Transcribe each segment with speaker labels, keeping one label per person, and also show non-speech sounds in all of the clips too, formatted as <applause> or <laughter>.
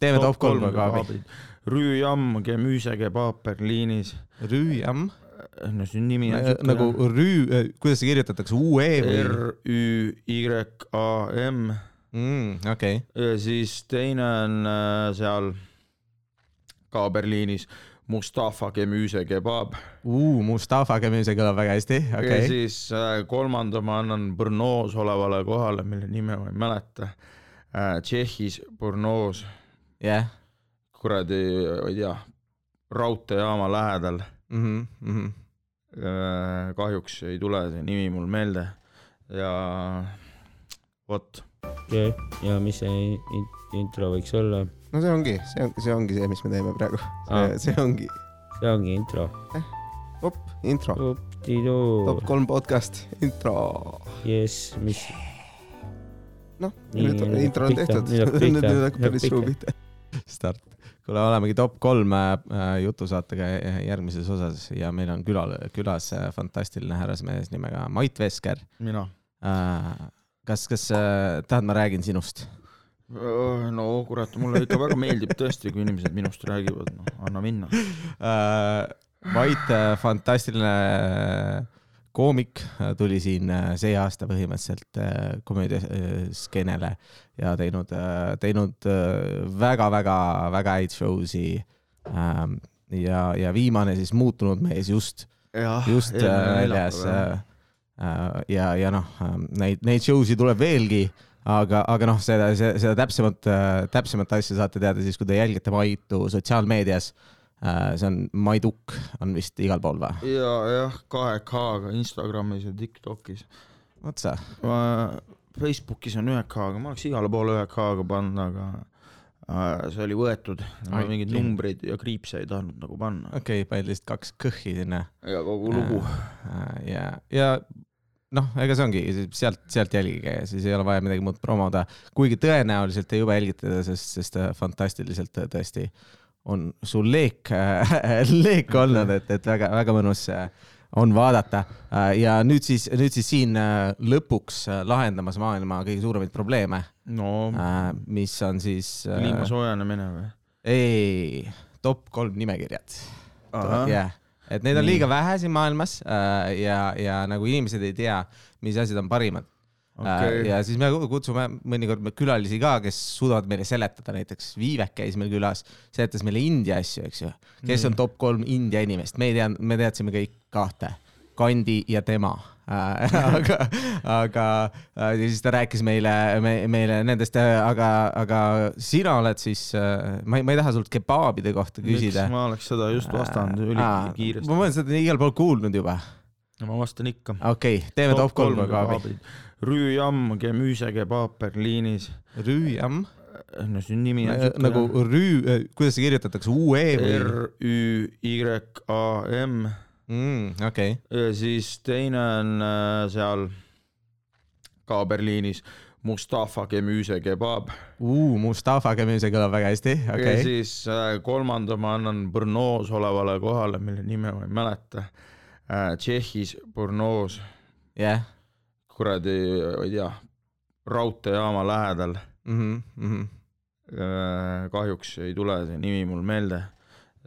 Speaker 1: teeme top kolm kaabi .
Speaker 2: Rüüjamm , Gemüüsege , Paaper , Liinis .
Speaker 1: Rüüjam ,
Speaker 2: Eh, no see nimi on siuke-
Speaker 1: nagu rüü , kuidas see kirjutatakse , UE või ?
Speaker 2: R Ü Y A M ,
Speaker 1: Mm, okei ,
Speaker 2: siis teine on äh, seal ka Berliinis Mustafa Gemüüse Kebab
Speaker 1: Mustafa Kemüse kõlab väga hästi ,
Speaker 2: okay. ja
Speaker 1: okei .
Speaker 2: siis äh, kolmanda ma annan Brnoos olevale kohale , mille nime ma ei mäleta äh, . Tšehhis Brnoos ,
Speaker 1: jah .
Speaker 2: kuradi , ma ei tea , raudteejaama lähedal
Speaker 1: Mhm,
Speaker 2: äh, . kahjuks ei tule see nimi mul meelde ja vot ,
Speaker 3: okei okay. , ja mis see in- intro võiks olla ?
Speaker 4: no see ongi , see on , see ongi see , mis me teeme praegu .
Speaker 1: Ah.
Speaker 3: Aa.
Speaker 4: see ongi ,
Speaker 3: see ongi intro .
Speaker 4: op , intro ,
Speaker 3: Tidu
Speaker 4: top , kolm podcast , intro .
Speaker 3: jess , mis ,
Speaker 4: noh ,
Speaker 3: Nii,
Speaker 4: nüüd
Speaker 3: nüüd
Speaker 4: intro on
Speaker 3: pihta,
Speaker 4: tehtud ,
Speaker 3: nüüd hakkab pihta,
Speaker 4: nüüd hakkab
Speaker 3: nüüd
Speaker 4: päris
Speaker 3: hakkab
Speaker 4: suu pihta .
Speaker 1: Start . kuule , olemegi top kolm äh, jutusaatega järgmises osas ja meil on külal , külas äh, fantastiline härrasmees nimega Mait Vesker
Speaker 2: mina
Speaker 1: äh, . kas , kas äh, tahad , ma räägin sinust ?
Speaker 2: Öö, Äh, no kurat , mulle ikka väga meeldib tõesti , kui inimesed minust räägivad , noh , anna minna .
Speaker 1: äh, . Vait äh, , fantastiline äh, koomik äh, tuli siin äh, see aasta põhimõtteliselt äh, komöödiaskeenele ja teinud , teinud äh, väga-väga-väga häid show si ähm, . ja , ja viimane siis muutunud mees just ,
Speaker 2: Ah,
Speaker 1: just äh, väljas äh, . äh, ja , ja noh , neid , neid show si tuleb veelgi aga , aga noh , seda , seda täpsemat , täpsemat asja saate teada siis , kui te jälgite Maitu sotsiaalmeedias . see on Maiduk on vist igal pool või ?
Speaker 2: ja jah , kahe K-ga Instagramis ja Tiktokis .
Speaker 1: vot sa ,
Speaker 2: Facebookis on ühe K-ga , ma oleks igale poole ühe K-ga pannud , aga äh, see oli võetud , ma
Speaker 1: Ai,
Speaker 2: mingeid
Speaker 1: jah.
Speaker 2: numbreid ja kriipse ei tahtnud nagu panna
Speaker 1: okei okay, , panid lihtsalt kaks kõhhi sinna
Speaker 2: ja kogu lugu .
Speaker 1: Äh, ja , ja noh , ega see ongi sealt , sealt jälgige ja siis ei ole vaja midagi muud promoda , kuigi tõenäoliselt te juba jälgite teda , sest , sest ta fantastiliselt äh, tõesti on sul leek , <laughs> leek olnud , et , et väga-väga mõnus äh, on vaadata Äh, ja nüüd siis , nüüd siis siin äh, lõpuks äh, lahendamas maailma kõige suuremaid probleeme ,
Speaker 2: no
Speaker 1: mis on siis äh,
Speaker 2: Mm. kliima soojenemine või ?
Speaker 1: ei , top kolm nimekirjad jah , et neid on
Speaker 2: Nii.
Speaker 1: liiga vähe siin maailmas äh, ja , ja nagu inimesed ei tea , mis asjad on parimad okay. .
Speaker 2: okei ,
Speaker 1: ja siis me kutsume mõnikord me külalisi ka , kes suudavad meile seletada , näiteks Viivek käis meil külas , seletas meile India asju , eks ju . kes on top kolm India inimest , me ei teadnud , me teadsime kõik kahte , Gandhi ja tema äh, . aga , aga äh, ja siis ta rääkis meile me, , meile nendest , aga , aga sina oled siis , ma ei , ma ei taha sult kebaabide kohta
Speaker 2: miks
Speaker 1: küsida .
Speaker 2: ma oleks seda just vastanud
Speaker 1: Aa,
Speaker 2: ülikiiresti
Speaker 1: ma , olen seda igal pool kuulnud juba .
Speaker 2: ma vastan ikka .
Speaker 1: okei okay, , teeme top kolm ka .
Speaker 2: Rüüjamm , Gemüüse Kebab Berliinis .
Speaker 1: Rüüjam ,
Speaker 2: Äh, no see nimi on siuke-
Speaker 1: nagu rüü , kuidas see kirjutatakse , UE või ?
Speaker 2: R Ü Y A M
Speaker 1: Mm, okei ,
Speaker 2: ja siis teine on äh, seal ka Berliinis Mustafa Gemüüse Kebab
Speaker 1: Mustafa Kemüse kõlab väga hästi ,
Speaker 2: okay. ja
Speaker 1: okei .
Speaker 2: siis äh, kolmanda ma annan Brnoos olevale kohale , mille nime ma ei mäleta äh, . Tšehhis Brnoos ,
Speaker 1: jah ,
Speaker 2: kuradi , ma ei tea , raudteejaama lähedal
Speaker 1: Mm-hmm,
Speaker 2: äh, . kahjuks ei tule see nimi mul meelde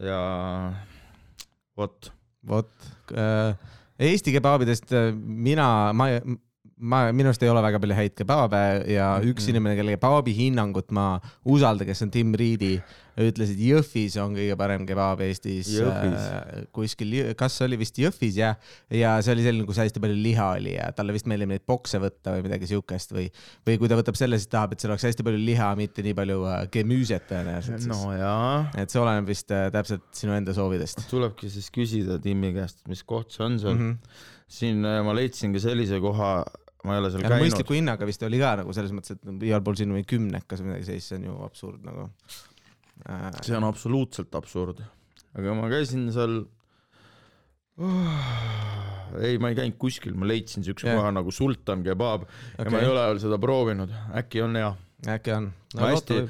Speaker 2: ja vot
Speaker 1: vot . Eesti kebaabidest äh, mina , ma , ma , minu arust ei ole väga palju häid kebaabe ja üks
Speaker 2: Mhm.
Speaker 1: inimene , kelle kebaabi hinnangut ma usaldan , kes on Tim Riidi , ütles , et Jõhvis on kõige parem kebaab Eestis .
Speaker 2: Jõhvis.
Speaker 1: kuskil , kas see oli vist Jõhvis jah , ja see oli selline , kus hästi palju liha oli ja talle vist meeldib neid bokse võtta või midagi siukest või , või kui ta võtab selle , siis tahab , et seal oleks hästi palju liha , mitte nii palju äh, gemüüset tõenäoliselt siis no.
Speaker 2: nojaa
Speaker 1: et see oleneb vist äh, täpselt sinu enda soovidest .
Speaker 2: tulebki siis küsida Timmi käest , mis koht see on seal mm .
Speaker 1: Mhm.
Speaker 2: -hmm. siin äh, ma leidsin ka sellise koha , ma ei ole seal
Speaker 1: ja
Speaker 2: käinud .
Speaker 1: mõistliku hinnaga vist oli ka nagu selles mõttes , et igal pool siin oli kümnekas või midagi sellist , see on ju absurd nagu äh, .
Speaker 2: see on absoluutselt absurd . aga ma käisin seal oh, ei , ma ei käinud kuskil , ma leidsin siukse
Speaker 1: Jah.
Speaker 2: yeah. koha nagu Sultan Kebab okay. ja ma ei
Speaker 1: Okei.
Speaker 2: ole veel seda proovinud , äkki on hea
Speaker 1: äkki on
Speaker 2: Ma hästi- .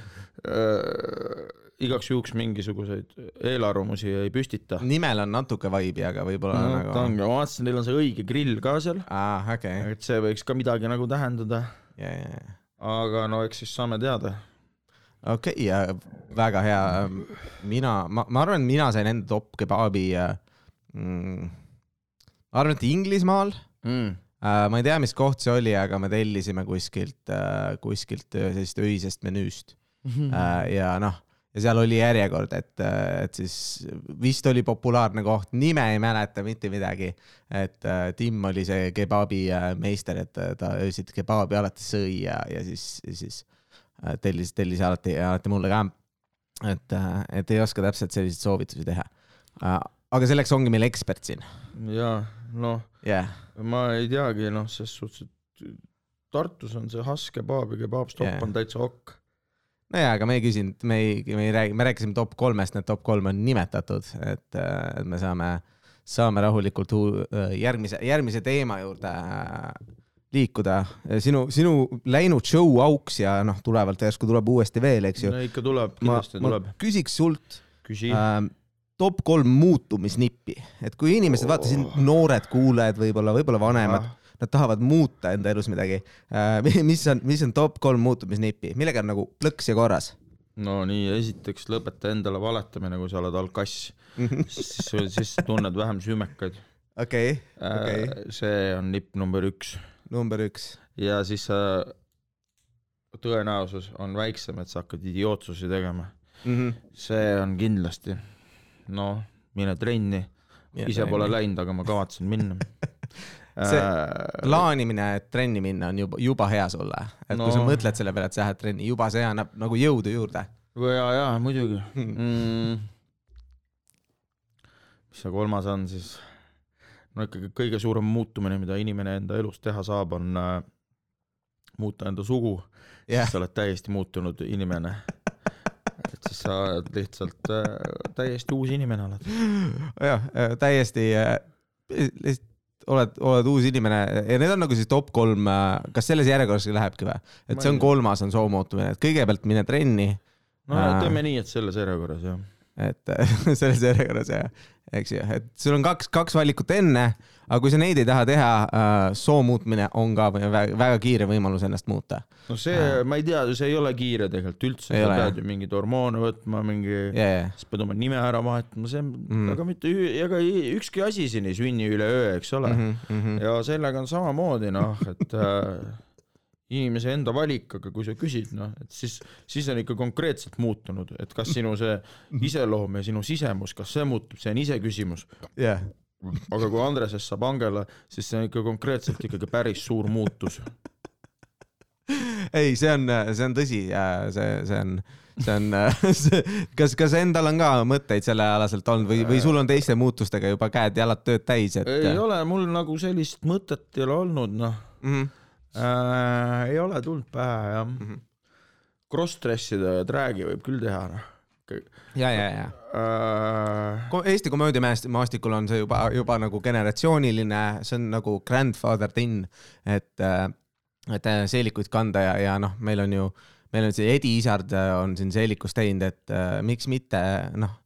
Speaker 2: äh, . igaks juhuks mingisuguseid eelarvamusi ei püstita no, .
Speaker 1: nimel on natuke vaibi , aga võib-olla no,
Speaker 2: ta
Speaker 1: nagu .
Speaker 2: ongi , ma vaatasin , neil on see õige grill ka seal ,
Speaker 1: aa , okei ,
Speaker 2: et see võiks ka midagi nagu tähendada ,
Speaker 1: ja , ja , ja .
Speaker 2: aga no eks siis saame teada
Speaker 1: okei ja väga hea , mina , ma , ma arvan , et mina sain enda top kebaabi äh, mm, . ma arvan , et Inglismaal
Speaker 2: mm. .
Speaker 1: äh, , ma ei tea , mis koht see oli , aga me tellisime kuskilt äh, , kuskilt öö- sellisest öisest menüüst äh, ja noh , ja seal oli järjekord , et , et siis vist oli populaarne koht , nime ei mäleta mitte midagi . et äh, Tim oli see kebaabi äh, meister , et äh, ta öösiti kebaabi alati sõi ja , ja siis , siis äh, tellis , tellis alati , alati mulle ka . et , et ei oska täpselt selliseid soovitusi teha . aga selleks ongi meil ekspert siin ,
Speaker 2: ja noh ,
Speaker 1: jah .
Speaker 2: ma ei teagi , noh , selles suhtes , et Tartus on see Hass kebaab ja kebaab stopp
Speaker 1: Jaa.
Speaker 2: yeah. on täitsa okk .
Speaker 1: nojaa , aga me ei küsinud , me ei , me ei räägi , me rääkisime top kolmest , need top kolm on nimetatud , et , et me saame , saame rahulikult hu- järgmise , järgmise teema juurde äh, liikuda . sinu , sinu läinud show auks ja noh , tulevalt järsku tuleb uuesti veel , eks ju .
Speaker 2: no ikka tuleb ,
Speaker 1: ma
Speaker 2: kindlasti ,
Speaker 1: ma
Speaker 2: tuleb .
Speaker 1: küsiks sult
Speaker 2: küsi äh, .
Speaker 1: ähm, top kolm muutumisnippi , et kui inimesed , vaata siin noored kuulajad võib-olla , võib-olla vanemad ,
Speaker 2: Ah.
Speaker 1: nad tahavad muuta enda elus midagi . <laughs> mis on , mis on top kolm muutumisnippi , millega on nagu plõks ja korras ?
Speaker 2: no nii , esiteks lõpeta endale valetamine , kui sa oled
Speaker 1: <laughs>
Speaker 2: alkass , siis , siis tunned vähem süümekaid
Speaker 1: okei ,
Speaker 2: okay.
Speaker 1: okei ,.
Speaker 2: Äh, see on nipp number üks
Speaker 1: number üks .
Speaker 2: ja siis sa tõenäosus on väiksem , et sa hakkad idiootsusi tegema , Mhm. see on kindlasti noh , mine trenni , ise pole . läinud , aga ma kavatsen
Speaker 1: <laughs>
Speaker 2: minna Äh,
Speaker 1: See plaanimine , et trenni minna on juba , juba hea sulle , et no. kui sa
Speaker 2: No.
Speaker 1: mõtled selle peale , et sa lähed trenni , juba see annab nagu jõudu juurde .
Speaker 2: või jaa , jaa , muidugi
Speaker 1: Hmm.
Speaker 2: mm. . mis see kolmas on siis ? no ikkagi kõige suurem muutumine , mida inimene enda elus teha saab , on äh, muuta enda sugu
Speaker 1: jah ,
Speaker 2: siis sa oled täiesti muutunud inimene . et siis sa oled lihtsalt äh, täiesti uus inimene oled .
Speaker 1: <laughs> jah , täiesti , lihtsalt oled , oled uus inimene ja need on nagu siis top kolm , kas selles järjekorras see lähebki või ? et see on kolmas , on soomootumine , et kõigepealt mine trenni ,
Speaker 2: no
Speaker 1: Aa.
Speaker 2: ja teeme nii , et selles järjekorras jah .
Speaker 1: et <laughs> selles järjekorras ja eks ju , et sul on kaks , kaks valikut enne , aga kui sa neid ei taha teha , soo muutmine on ka väga, väga kiire võimalus ennast muuta .
Speaker 2: no see , ma ei tea , see ei ole kiire tegelikult üldse ,
Speaker 1: Ei
Speaker 2: sa
Speaker 1: ole,
Speaker 2: pead ju mingeid hormoone võtma , mingi ,
Speaker 1: ja , ja ,
Speaker 2: siis pead oma nime ära vahetama , see mm. , aga mitte , ega ei- ükski asi siin ei sünni üleöö , eks ole mm .
Speaker 1: mhm.
Speaker 2: -hmm. ja sellega on samamoodi noh , et äh, inimese enda valik , aga kui sa küsid noh , et siis , siis on ikka konkreetselt muutunud , et kas sinu see iseloom ja sinu sisemus , kas see muutub , see on iseküsimus .
Speaker 1: ja ,
Speaker 2: aga kui Andresest saab Angela , siis see on ikka konkreetselt ikkagi päris suur muutus .
Speaker 1: ei , see on , see on tõsi ja see , see on , see on äh, <laughs> see, kas , kas endal on ka mõtteid sellealaselt olnud või , või sul on teiste muutustega juba käed-jalad tööd täis , et ?
Speaker 2: ei ole mul nagu sellist mõtet ei ole olnud noh
Speaker 1: ole .
Speaker 2: äh, , ei ole tulnud pähe jah . Crossdressi ja trag'i võib küll teha noh
Speaker 1: ja , ja , ja .
Speaker 2: äh, .
Speaker 1: Ko- Eesti komöödiamaastikul on see juba , juba nagu generatsiooniline , see on nagu grandfather tin , et , et äh, seelikuid kanda ja , ja noh , meil on ju , meil on see Edi Isard on siin seelikus teinud , et äh, miks mitte noh ,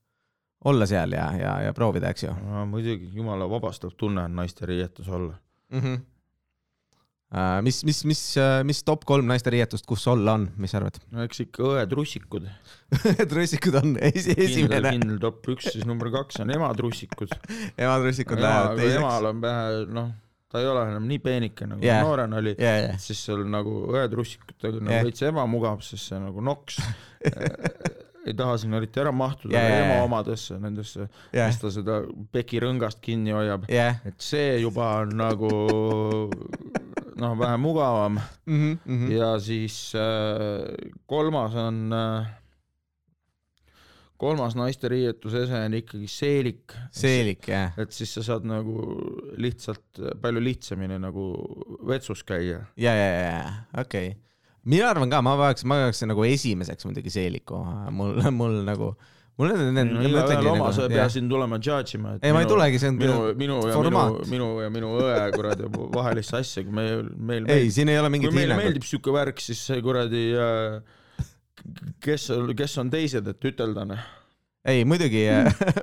Speaker 1: olla seal ja , ja , ja proovida , eks ju
Speaker 2: no muidugi , jumala vabastav tunne on naiste riietus olla .
Speaker 1: mm .
Speaker 2: Mhm.
Speaker 1: -hmm. Äh, mis , mis , mis , mis top kolm naiste riietust , kus olla on , mis sa arvad ? <laughs>
Speaker 2: no eks ikka õetrussikud .
Speaker 1: trussikud on esi ,
Speaker 2: kindel ,
Speaker 1: esimene ,
Speaker 2: kindel top üks , siis number kaks on ematrussikud .
Speaker 1: ema trussikud lähevad teiseks .
Speaker 2: emal on pähe , noh , ta ei ole enam nii peenike nagu
Speaker 1: Jah.
Speaker 2: yeah. noorena oli
Speaker 1: ja , ja ,
Speaker 2: siis seal nagu õetrussikutega nagu
Speaker 1: Jah.
Speaker 2: yeah. veits ema mugav , sest see nagu
Speaker 1: <laughs>
Speaker 2: noks ei taha sinna eriti ära mahtuda
Speaker 1: Jah,
Speaker 2: yeah.
Speaker 1: jah,
Speaker 2: ema
Speaker 1: jah.
Speaker 2: omadesse , nendesse ,
Speaker 1: Jah.
Speaker 2: mis ta seda pekirõngast kinni hoiab .
Speaker 1: ja ,
Speaker 2: et see juba on nagu noh , vähe mugavam
Speaker 1: Mhm,
Speaker 2: ja siis äh, kolmas on äh, , kolmas naiste riietuse ese on ikkagi seelik ,
Speaker 1: seelik , jah .
Speaker 2: et siis sa saad nagu lihtsalt palju lihtsamini nagu vetsus käia .
Speaker 1: ja , ja , ja , ja , okei okay. . mina arvan ka , ma vajaks , ma vajaks nagu esimeseks muidugi seeliku , mul , mul nagu , mul on need , nagu,
Speaker 2: igaühel oma , sa ei pea siin tulema judge ima .
Speaker 1: Ei, ma ei tulegi, see on
Speaker 2: minu , minu ja
Speaker 1: formaat.
Speaker 2: minu , minu ja minu õe kuradi <laughs> vahelisse asja , kui meil , meil
Speaker 1: ei , siin ei ole
Speaker 2: kui
Speaker 1: mingit
Speaker 2: meile
Speaker 1: hinnangut .
Speaker 2: meeldib siuke värk , siis see kuradi äh, , kes , kes on teised , et ütelda noh .
Speaker 1: ei muidugi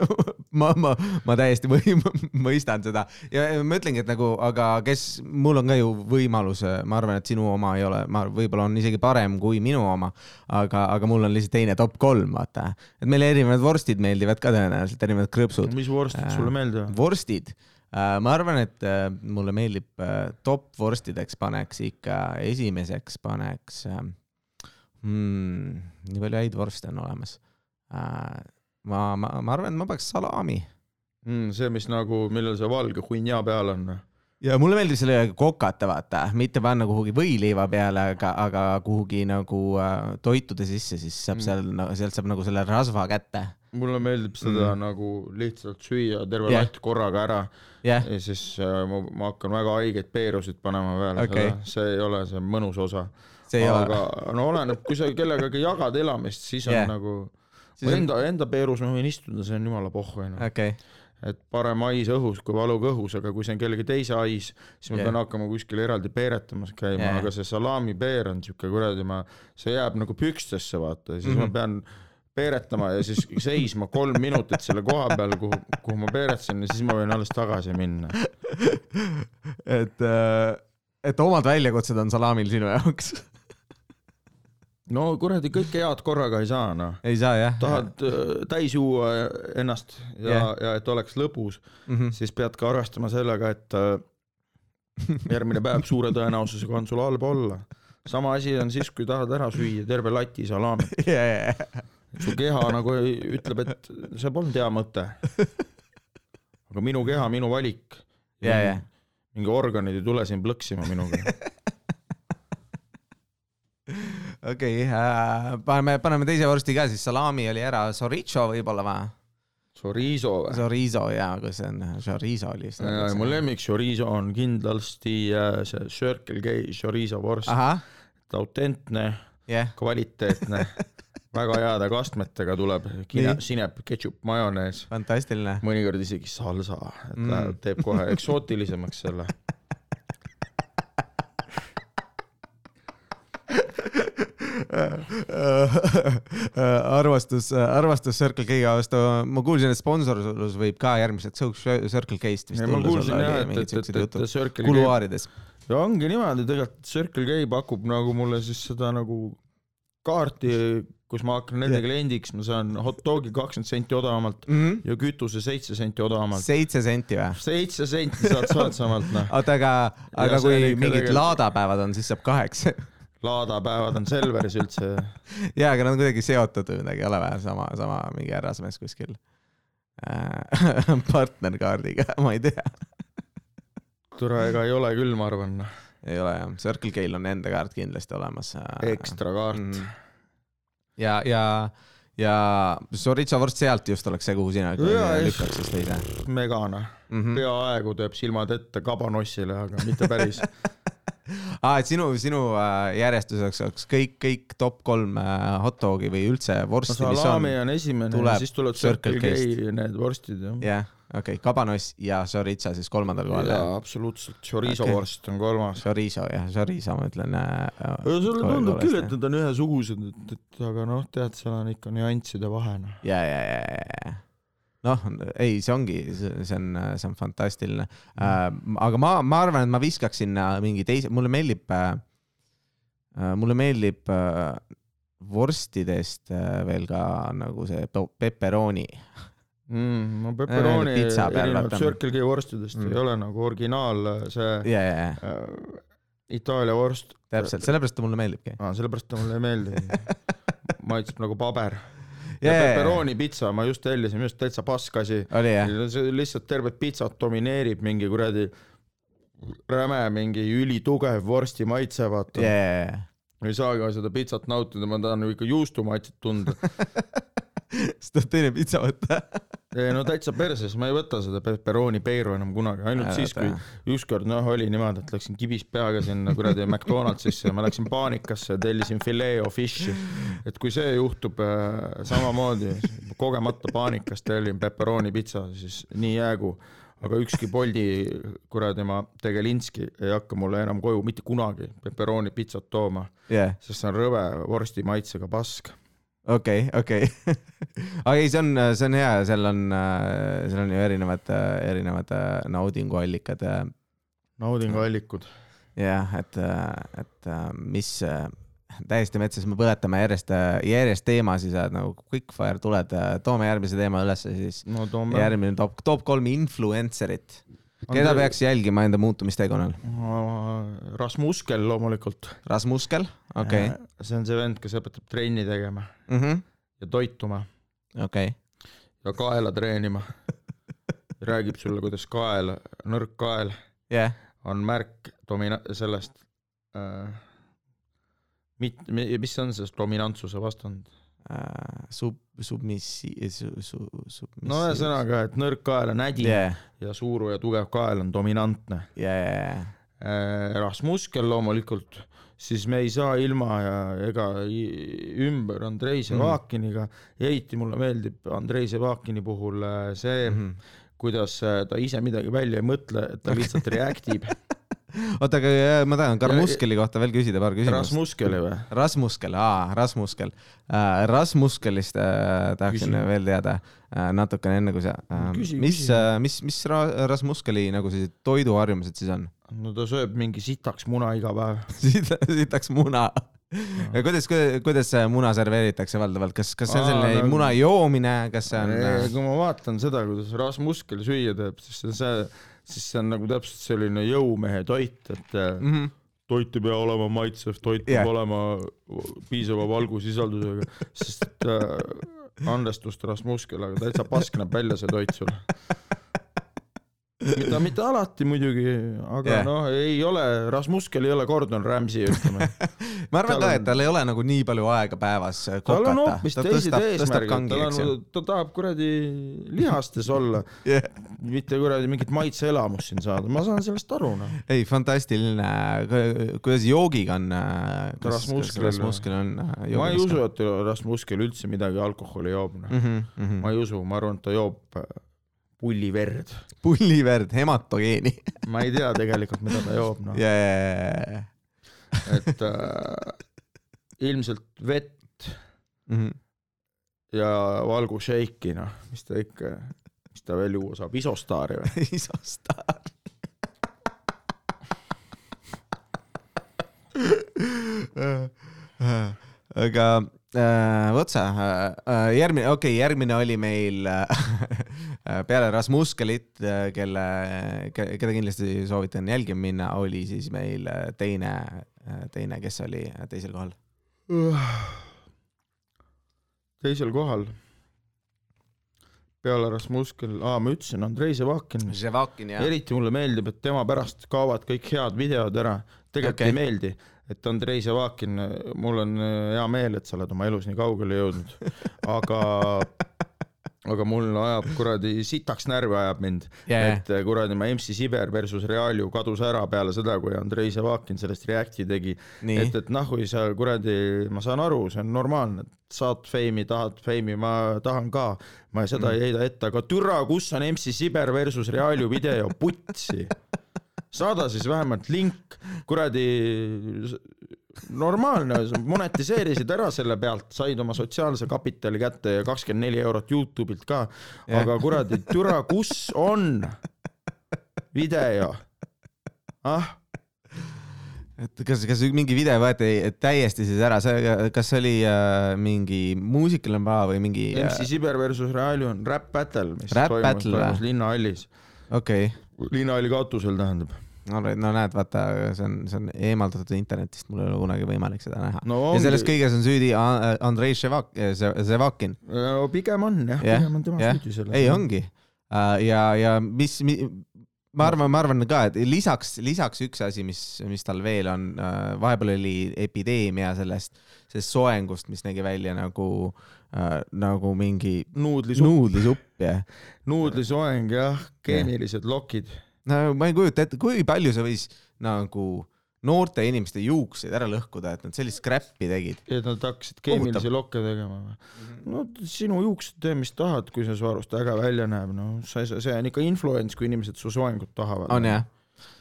Speaker 1: <laughs> ma , ma , ma täiesti või, <laughs> mõistan seda ja ma ütlengi , et nagu , aga kes , mul on ka ju võimalus , ma arvan , et sinu oma ei ole , ma võib-olla on isegi parem kui minu oma , aga , aga mul on lihtsalt teine top kolm , vaata . et meile erinevad vorstid meeldivad ka tõenäoliselt , erinevad krõpsud .
Speaker 2: mis vorstid
Speaker 1: Äh,
Speaker 2: sulle meeldivad ?
Speaker 1: vorstid , ma arvan , et äh, mulle meeldib äh, top vorstideks paneks ikka , esimeseks paneks äh, mm, , nii palju häid vorste on olemas . ma , ma , ma arvan , et ma paneks salami
Speaker 2: see , mis nagu , millel see valge hunnia peal on . noh.
Speaker 1: ja mulle meeldib selle kokata , vaata , mitte panna kuhugi võileiva peale , aga , aga kuhugi nagu äh, toitude sisse , siis saab
Speaker 2: Mm.
Speaker 1: mm. seal , sealt saab nagu selle rasva kätte .
Speaker 2: mulle meeldib seda
Speaker 1: Mm.
Speaker 2: mm. nagu lihtsalt süüa terve
Speaker 1: Jah.
Speaker 2: latt korraga ära
Speaker 1: jah ,
Speaker 2: ja siis äh, ma, ma hakkan väga haigeid peerusid panema peale
Speaker 1: Okei.
Speaker 2: seda , see ei ole see mõnus osa .
Speaker 1: see ei ole ,
Speaker 2: aga no oleneb , kui sa kellegagi jagad elamist , siis on
Speaker 1: Jah.
Speaker 2: yeah. nagu ,
Speaker 1: Siis on-
Speaker 2: enda , enda peerus ma võin istuda , see on jumala pohhu noh. onju .
Speaker 1: okei ,
Speaker 2: et parem hais õhus kui valuga õhus , aga kui see on kellegi teise hais , siis ma
Speaker 1: Jah.
Speaker 2: yeah. pean hakkama kuskil eraldi peeretamas käima
Speaker 1: Jah.
Speaker 2: yeah. , aga see salaamipeer on siuke kuradi , ma , see jääb nagu pükstesse vaata ja siis mm
Speaker 1: Mhm.
Speaker 2: -hmm. ma pean peeretama ja siis seisma kolm minutit selle koha peal , kuhu , kuhu ma peeretasin ja siis ma võin alles tagasi minna .
Speaker 1: <laughs> et , et omad väljakutsed on salamil sinu jaoks . <laughs>
Speaker 2: no kuradi , kõike head korraga ei saa noh ,
Speaker 1: ei saa jah ?
Speaker 2: tahad äh, täis juua ennast ja
Speaker 1: Jah.
Speaker 2: yeah. , ja et oleks lõbus ,
Speaker 1: mm . <laughs> -hmm.
Speaker 2: siis pead ka arvestama sellega , et äh, järgmine päev suure tõenäosusega on sul halb olla . sama asi on siis , kui tahad ära süüa terve lati salami ,
Speaker 1: ja , ja , ja ,
Speaker 2: su keha nagu ei, ütleb , et see polnud hea mõte . aga minu keha , minu valik .
Speaker 1: ja , ja .
Speaker 2: mingi organid ei tule siin plõksima minuga .
Speaker 1: okei , paneme , paneme teise vorsti ka siis , salami oli ära , soricho võib-olla või ?
Speaker 2: Chorizo või ?
Speaker 1: Chorizo jaa , kui see on , chorizo oli nagu vist .
Speaker 2: mu lemmik chorizo on kindlasti äh, see Circle K chorizo vorst ,
Speaker 1: ahah ,
Speaker 2: autentne ,
Speaker 1: jah .
Speaker 2: kvaliteetne , väga heade kastmetega tuleb , kine-
Speaker 1: Nii. ,
Speaker 2: sinep , ketšup , majonees
Speaker 1: fantastiline .
Speaker 2: mõnikord isegi salsa , et
Speaker 1: Mm.
Speaker 2: mm. läheb , teeb kohe eksootilisemaks
Speaker 1: <laughs>
Speaker 2: selle .
Speaker 1: Äh, armastus , armastus Circle K vastu , ma kuulsin , et sponsorlus võib ka järgmiseks õuks Circle K-st vist
Speaker 2: ma
Speaker 1: tulla
Speaker 2: kuulsin jah , et , et , et , et
Speaker 1: jutud
Speaker 2: Circle K ,
Speaker 1: kuluaarides .
Speaker 2: ja ongi niimoodi tegelikult , Circle K pakub nagu mulle siis seda nagu kaarti , kus ma hakkan nende
Speaker 1: Jah.
Speaker 2: kliendiks , ma saan hot dogi kakskümmend senti odavamalt ja kütuse seitse senti odavamalt .
Speaker 1: Mhm. seitse senti või ?
Speaker 2: seitse senti saad
Speaker 1: <laughs>
Speaker 2: soodsamalt noh ,
Speaker 1: oota , aga , aga
Speaker 2: see oli
Speaker 1: kui
Speaker 2: ikka
Speaker 1: mingid
Speaker 2: tegelikult-
Speaker 1: laadapäevad on , siis saab kaheksa .
Speaker 2: laadapäevad on Selveris üldse .
Speaker 1: jaa , aga nad on kuidagi seotud või midagi , ei ole või ? sama , sama mingi härrasmees kuskil äh, <laughs> partnerkaardiga , ma ei tea .
Speaker 2: tore , ega ei ole küll , ma arvan , noh,
Speaker 1: ei ole jah , Circle K-l on enda kaart kindlasti olemas .
Speaker 2: ekstra kaart .
Speaker 1: Mm. ja , ja , ja Soritsa vorst sealt just oleks see , kuhu sina
Speaker 2: Jaa, just.
Speaker 1: lükkaks siis teise
Speaker 2: megana ,
Speaker 1: mm . -hmm.
Speaker 2: peaaegu teeb silmad ette kabanossile , aga
Speaker 1: <laughs>
Speaker 2: mitte päris .
Speaker 1: Ah, et sinu , sinu äh, järjestuseks oleks kõik , kõik top kolm äh, hot dogi või üldse
Speaker 2: no
Speaker 1: vorsti , mis on
Speaker 2: salami . on esimene
Speaker 1: tuleb
Speaker 2: ja siis tuleb
Speaker 1: Circle
Speaker 2: Circle K need vorstid jah .
Speaker 1: jah , okei okay, , kabanoss ja Soritsa siis kolmandal kohal
Speaker 2: jaa
Speaker 1: jah . ,
Speaker 2: absoluutselt , chorizo
Speaker 1: Okei.
Speaker 2: okay. vorst on
Speaker 1: Noh,
Speaker 2: kolmas .
Speaker 1: Chorizo jah , Chorizo ma ütlen äh, .
Speaker 2: sulle tundub küll , et . need on ühesugused , et , et aga noh , tead , seal on ikka nüansside vahe noh .
Speaker 1: ja , ja , ja , ja , ja noh , ei , see ongi , see on , see on fantastiline
Speaker 2: Mm.
Speaker 1: äh, . aga ma , ma arvan , et ma viskaks sinna mingi teise , mulle meeldib äh, , mulle meeldib äh, vorstidest äh, veel ka nagu see peperoni .
Speaker 2: Mm, no peperooni
Speaker 1: Äh, pitsa peal
Speaker 2: erinevalt
Speaker 1: vaata.
Speaker 2: Circle K vorstidest
Speaker 1: Mm.
Speaker 2: mm. ei ole nagu originaal see
Speaker 1: ja , ja , ja
Speaker 2: äh, Itaalia vorst ,
Speaker 1: täpselt , sellepärast ta mulle meeldibki .
Speaker 2: ah, sellepärast ta mulle
Speaker 1: <laughs>
Speaker 2: ei meeldi . maitseb nagu paber . ja
Speaker 1: oli
Speaker 2: peperooni pitsa ma just tellisin , minu arust täitsa pask asi
Speaker 1: jah ,
Speaker 2: Ja see lihtsalt tervet pitsat domineerib mingi kuradi räme mingi ülitugev vorsti maitse ,
Speaker 1: ja ,
Speaker 2: vaata
Speaker 1: ja , ja , <laughs>
Speaker 2: ei saa ka seda pitsat nautida , ma tahan ju ikka juustu maitset tunda .
Speaker 1: siis tuleb teine pitsa võtta .
Speaker 2: ei no täitsa perses , ma ei võta seda peperooni peiru enam kunagi , ainult siis , kui ükskord noh , oli niimoodi , et läksin kibis peaga sinna kuradi McDonaldsisse ja ma läksin paanikasse ja tellisin filet o fish'i . et kui see juhtub äh, samamoodi , kogemata paanikas tellin peperooni pitsa , siis nii jäägu . aga ükski Boldi kuradi ma Tegelinski ei hakka mulle enam koju mitte kunagi peperooni pitsat tooma ,
Speaker 1: jah ,
Speaker 2: sest see on rõve vorsti maitsega pask .
Speaker 1: okei , okei . <laughs> aga ei , see on , see on hea ja seal on , seal on ju erinevad , erinevad äh, naudinguallikad äh,
Speaker 2: naudinguallikud .
Speaker 1: jah , et , et äh, mis äh, täiesti metsas , me põletame järjest , järjest teemasid , sa oled nagu quickfire tuled , toome järgmise teema ülesse , siis
Speaker 2: no toome .
Speaker 1: järgmine top , top kolm influencer'it , keda peaks jälgima enda muutumisteekonnal .
Speaker 2: Äh, Rasmuskel loomulikult .
Speaker 1: Rasmuskel , okei ,
Speaker 2: see on see vend , kes õpetab trenni tegema ja toituma
Speaker 1: okei ,
Speaker 2: ja kaela
Speaker 1: <laughs>
Speaker 2: treenima . räägib sulle , kuidas kael , nõrk kael
Speaker 1: jah ,
Speaker 2: on märk domina- , sellest äh, . mit- , mis on see dominantsuse vastand ?
Speaker 1: Äh, sub , submissi- , su- , su- , submissi- .
Speaker 2: no ühesõnaga , et nõrk kael on ädi yeah.
Speaker 1: jah ,
Speaker 2: ja suur ja tugev kael on dominantne
Speaker 1: ja , ja , ja ,
Speaker 2: äh, . Rasmuskel loomulikult , siis me ei saa ilma ja ega i- ümber
Speaker 1: Mhm.
Speaker 2: Andrei Sevakiniga mm. , eriti mulle meeldib Andrei Sevakini puhul äh, see
Speaker 1: Mhm.
Speaker 2: mm ,
Speaker 1: Uhuh.
Speaker 2: -hmm. kuidas äh, ta ise midagi välja ei mõtle , et ta
Speaker 1: <laughs>
Speaker 2: lihtsalt react ib .
Speaker 1: oota , aga äh, ma tahan Karmuskeli kohta veel küsida paar küsimust .
Speaker 2: Rasmuskeli või ?
Speaker 1: Rasmuskel , aa , Rasmuskel . Rasmuskelist äh, tahaksin
Speaker 2: Küsi.
Speaker 1: veel teada äh, natukene enne , kui sa äh, ,
Speaker 2: Küsi,
Speaker 1: mis
Speaker 2: küsi. ,
Speaker 1: mis , mis Ra- Rasmuskeli nagu sellised toiduharjumused siis on ? <laughs>
Speaker 2: no ta sööb mingi sitaks muna iga päev .
Speaker 1: sitaks muna . kuidas , kuidas see muna serveeritakse valdavalt , kas , kas see on
Speaker 2: Aa,
Speaker 1: selline
Speaker 2: no-
Speaker 1: muna joomine , kas see on
Speaker 2: Ei,
Speaker 1: äh,
Speaker 2: kui ma vaatan seda , kuidas Rasmuskel süüa teeb , siis see on see , siis see on nagu täpselt selline jõumehe toit , et äh,
Speaker 1: mhm,
Speaker 2: toit ei pea olema maitsev , toit peab
Speaker 1: Jah.
Speaker 2: olema piisava valgusisaldusega , sest et äh, andestust Rasmuskel , aga täitsa pask näeb välja see toit sul . mida , mitte alati muidugi , aga
Speaker 1: Jah.
Speaker 2: noh , ei ole , Rasmuskel ei ole Gordon Ramsay ,
Speaker 1: <laughs>
Speaker 2: ütleme .
Speaker 1: ma arvan
Speaker 2: tal
Speaker 1: ka ,
Speaker 2: on-
Speaker 1: et tal ei ole nagu nii palju aega päevas äh,
Speaker 2: tal
Speaker 1: kokata .
Speaker 2: on hoopis
Speaker 1: ta
Speaker 2: teised
Speaker 1: tõstab , tõstab
Speaker 2: eesmärgid ,
Speaker 1: kangi ,
Speaker 2: tal
Speaker 1: eks ju
Speaker 2: on , ta tahab kuradi lihastes olla
Speaker 1: Jah.
Speaker 2: mitte kuradi mingit maitseelamust siin saada , ma saan sellest aru noh .
Speaker 1: ei , fantastiline , kuidas joogiga on , kas , kas
Speaker 2: Rasmuskel-
Speaker 1: Rasmuskel on äh,
Speaker 2: ma ei
Speaker 1: joogis ka?
Speaker 2: usu , et Rasmuskel üldse midagi alkoholi joob noh ,
Speaker 1: Mhm, mhm.
Speaker 2: ma ei usu , ma arvan , et ta joob äh, pulliverd ,
Speaker 1: pulliverd , hematogeeni .
Speaker 2: ma ei tea tegelikult , mida ta joob noh ,
Speaker 1: jajajajajah .
Speaker 2: et äh, ilmselt vett
Speaker 1: Mhm.
Speaker 2: ja valgusheiki noh , mis ta ikka , mis ta veel juua saab , isostaari
Speaker 1: <laughs>
Speaker 2: või ?
Speaker 1: isa staar . <laughs> aga äh, vot sa äh, , järgmine , okei okay, , järgmine oli meil äh, <laughs> peale Rasmuskelit , kelle , keda kindlasti soovitan jälgima minna , oli siis meil äh, teine , teine , kes oli äh, teisel kohal .
Speaker 2: teisel kohal peale Rasmuskel , aa ma ütlesin Andrei Sevakin ,
Speaker 1: Ževakin jah ?
Speaker 2: eriti mulle meeldib , et tema pärast kaovad kõik head videod ära , tegelikult
Speaker 1: Okei.
Speaker 2: okay. ei meeldi , et Andrei Sevakin , mul on äh, hea meel , et sa oled oma elus nii kaugele jõudnud , aga ,
Speaker 1: <laughs>
Speaker 2: aga mul ajab kuradi sitaks närvi ajab mind ,
Speaker 1: jajah ,
Speaker 2: et äh, kuradi ma MC Siber versus Realju kadus ära peale seda , kui Andrei Sevakin sellest Reacti tegi
Speaker 1: nii
Speaker 2: et , et nahhui sa kuradi , ma saan aru , see on normaalne , saad feimi , tahad feimi , ma tahan ka , ma seda mm. ei heida ette , aga türa , kus on MC Siber versus Realju video , putsi . saada siis vähemalt link , kuradi , normaalne , monetiseerisid ära selle pealt , said oma sotsiaalse kapitali kätte ja kakskümmend neli eurot Youtube'ilt ka ,
Speaker 1: Jah.
Speaker 2: aga kuradi , türa , kus on video ? ah
Speaker 1: et kas , kas mingi video võeti täiesti siis ära , see , kas see oli äh, mingi muusikaline päev või mingi
Speaker 2: MC Siber versus Realju on Rap Battle , mis
Speaker 1: Rap
Speaker 2: toimus,
Speaker 1: Battle,
Speaker 2: toimus
Speaker 1: või?
Speaker 2: linnahallis ,
Speaker 1: äh, okei okay. ,
Speaker 2: linnahalli katusel tähendab .
Speaker 1: no näed , vaata , see on , see on eemaldatud internetist , mul ei ole kunagi võimalik seda näha no, .
Speaker 2: no
Speaker 1: ja selles
Speaker 2: ongi ,
Speaker 1: kõiges on süüdi A- Andrei Ševak- , äh, Ševakin ,
Speaker 2: Äh, no pigem on jah
Speaker 1: Jah,
Speaker 2: yeah. , pigem on tema
Speaker 1: jah.
Speaker 2: yeah. süüdi selles .
Speaker 1: ei . ongi . ja , ja mis, mis , ma arvan , ma arvan ka , et lisaks , lisaks üks asi , mis , mis tal veel on , vahepeal oli epideemia sellest , sellest soengust , mis nägi välja nagu , nagu mingi
Speaker 2: nuudlisupp ,
Speaker 1: nuudlisupp ja
Speaker 2: nuudlisoeng jah , keemilised lokid .
Speaker 1: no ma ei kujuta ette , kui palju see võis nagu noorte inimeste juukseid ära lõhkuda , et nad sellist crap'i tegid .
Speaker 2: et nad hakkasid keemilisi lokke tegema või ?
Speaker 1: Mhm.
Speaker 2: no sinu juuksed , tee mis tahad , kui see su arust äge välja näeb , no see , see on ikka influence , kui inimesed su soengut tahavad .
Speaker 1: on jah ?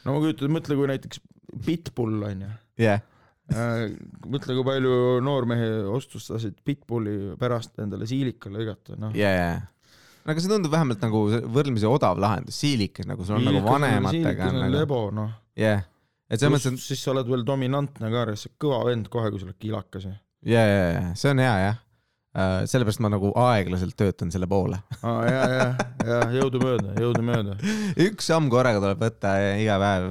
Speaker 2: no ma kujutan , mõtle , kui näiteks Pitbull on ju ,
Speaker 1: jah ,
Speaker 2: Äh, mõtle , kui palju noormehe ostustasid Pitbulli pärast endale siilika lõigata , noh .
Speaker 1: ja , ja , aga see tundub vähemalt nagu see võrdlemisi odav lahendus , siilikas nagu sul on nagu vanematega on nagu ,
Speaker 2: lebo , noh .
Speaker 1: jah , et selles mõttes on ,
Speaker 2: siis sa oled veel dominantne ka , sa oled kõva vend kohe , kui sa oled kilakas .
Speaker 1: ja , ja , ja see on hea jah . sellepärast ma nagu aeglaselt töötan selle poole . <laughs>
Speaker 2: aa , ja , ja , ja jõudumööda , jõudumööda .
Speaker 1: üks samm korraga tuleb võtta ja iga päev ,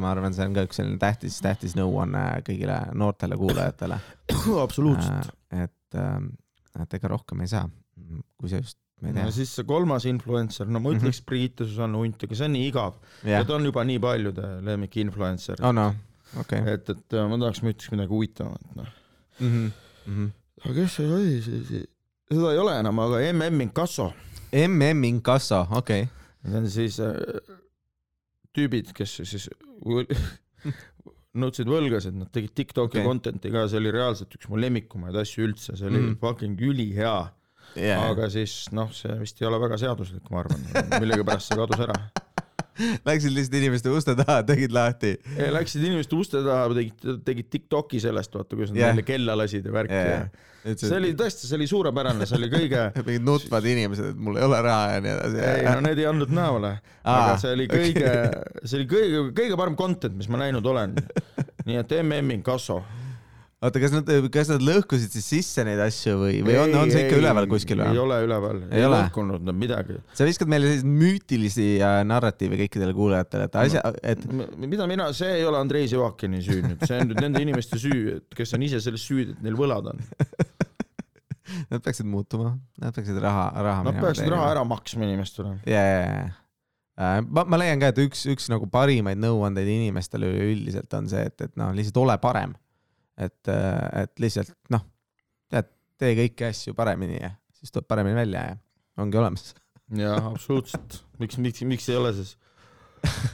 Speaker 1: ma arvan , see on ka üks selline tähtis , tähtis nõuanne kõigile noortele kuulajatele .
Speaker 2: absoluutselt .
Speaker 1: Äh, et , et ega rohkem ei saa , kui sa just , ma ei
Speaker 2: ja
Speaker 1: tea .
Speaker 2: siis see kolmas influencer , no ma ütleks Priit ja Susanne Unt , aga see on nii igav . ja
Speaker 1: jah ,
Speaker 2: ta on juba nii paljude lemmik influencer .
Speaker 1: on no, , okei
Speaker 2: et , et äh, ma tahaks , ma ütleks midagi huvitavamat , noh .
Speaker 1: Mhm, mhm.
Speaker 2: aga kes see oli , see , see , seda ei ole enam , aga MM Inkasso .
Speaker 1: mm Inkasso , okei .
Speaker 2: Need on siis äh, tüübid , kes siis võl- <laughs> nõudsid võlgasid , nad tegid Tiktoki
Speaker 1: Okei.
Speaker 2: okay. content'i ka , see oli reaalselt üks mu lemmikumaid asju üldse , see oli
Speaker 1: Mm.
Speaker 2: mm. fucking ülihea yeah. ,
Speaker 1: Aga...
Speaker 2: aga siis noh , see vist ei ole väga seaduslik , ma arvan , millegipärast see kadus ära .
Speaker 1: Läksid lihtsalt inimeste uste taha , tegid lahti .
Speaker 2: Läksid inimeste uste taha , tegid , tegid Tiktoki sellest , vaata , kuidas nad
Speaker 1: Jah.
Speaker 2: yeah. neile kella lasid ja värki yeah. . see oli tõesti , see oli suurepärane , see oli kõige ,
Speaker 1: <laughs> mingid nutvad inimesed , et mul ei ole raha ja nii
Speaker 2: ei no
Speaker 1: edasi .
Speaker 2: need ei andnud
Speaker 1: <laughs>
Speaker 2: näole , aga see oli kõige , <laughs> see oli kõige , kõige parem content , mis ma näinud
Speaker 1: <laughs>
Speaker 2: olen . nii et MM Inkasso
Speaker 1: oota , kas nad , kas nad lõhkusid siis sisse neid asju või , või on , on see ikka
Speaker 2: Ei,
Speaker 1: üleval kuskil
Speaker 2: ei
Speaker 1: või ?
Speaker 2: ole üleval ,
Speaker 1: Ei
Speaker 2: ei
Speaker 1: ole?
Speaker 2: lõhkunud nad midagi .
Speaker 1: sa viskad meile selliseid müütilisi äh, narratiive kõikidele kuulajatele , et asja , et
Speaker 2: mida mina , see ei ole Andrei Sivakini süü nüüd , see on nüüd nende inimeste süü , et kes on ise selles süüdi , et neil võlad on .
Speaker 1: nad peaksid muutuma , nad peaksid raha , raha .
Speaker 2: Nad peaksid raha ära maksma inimestele .
Speaker 1: ja , ja , ja , ja Äh, ma , ma leian ka , et üks , üks nagu parimaid nõuandeid inimestele üleüldiselt on see , et , et noh , lihtsalt ole parem . et , et lihtsalt noh , tead , tee kõiki asju paremini ja siis tuleb paremini välja ja ongi olemas . <laughs>
Speaker 2: jah , absoluutselt . miks , miks , miks ei ole siis ?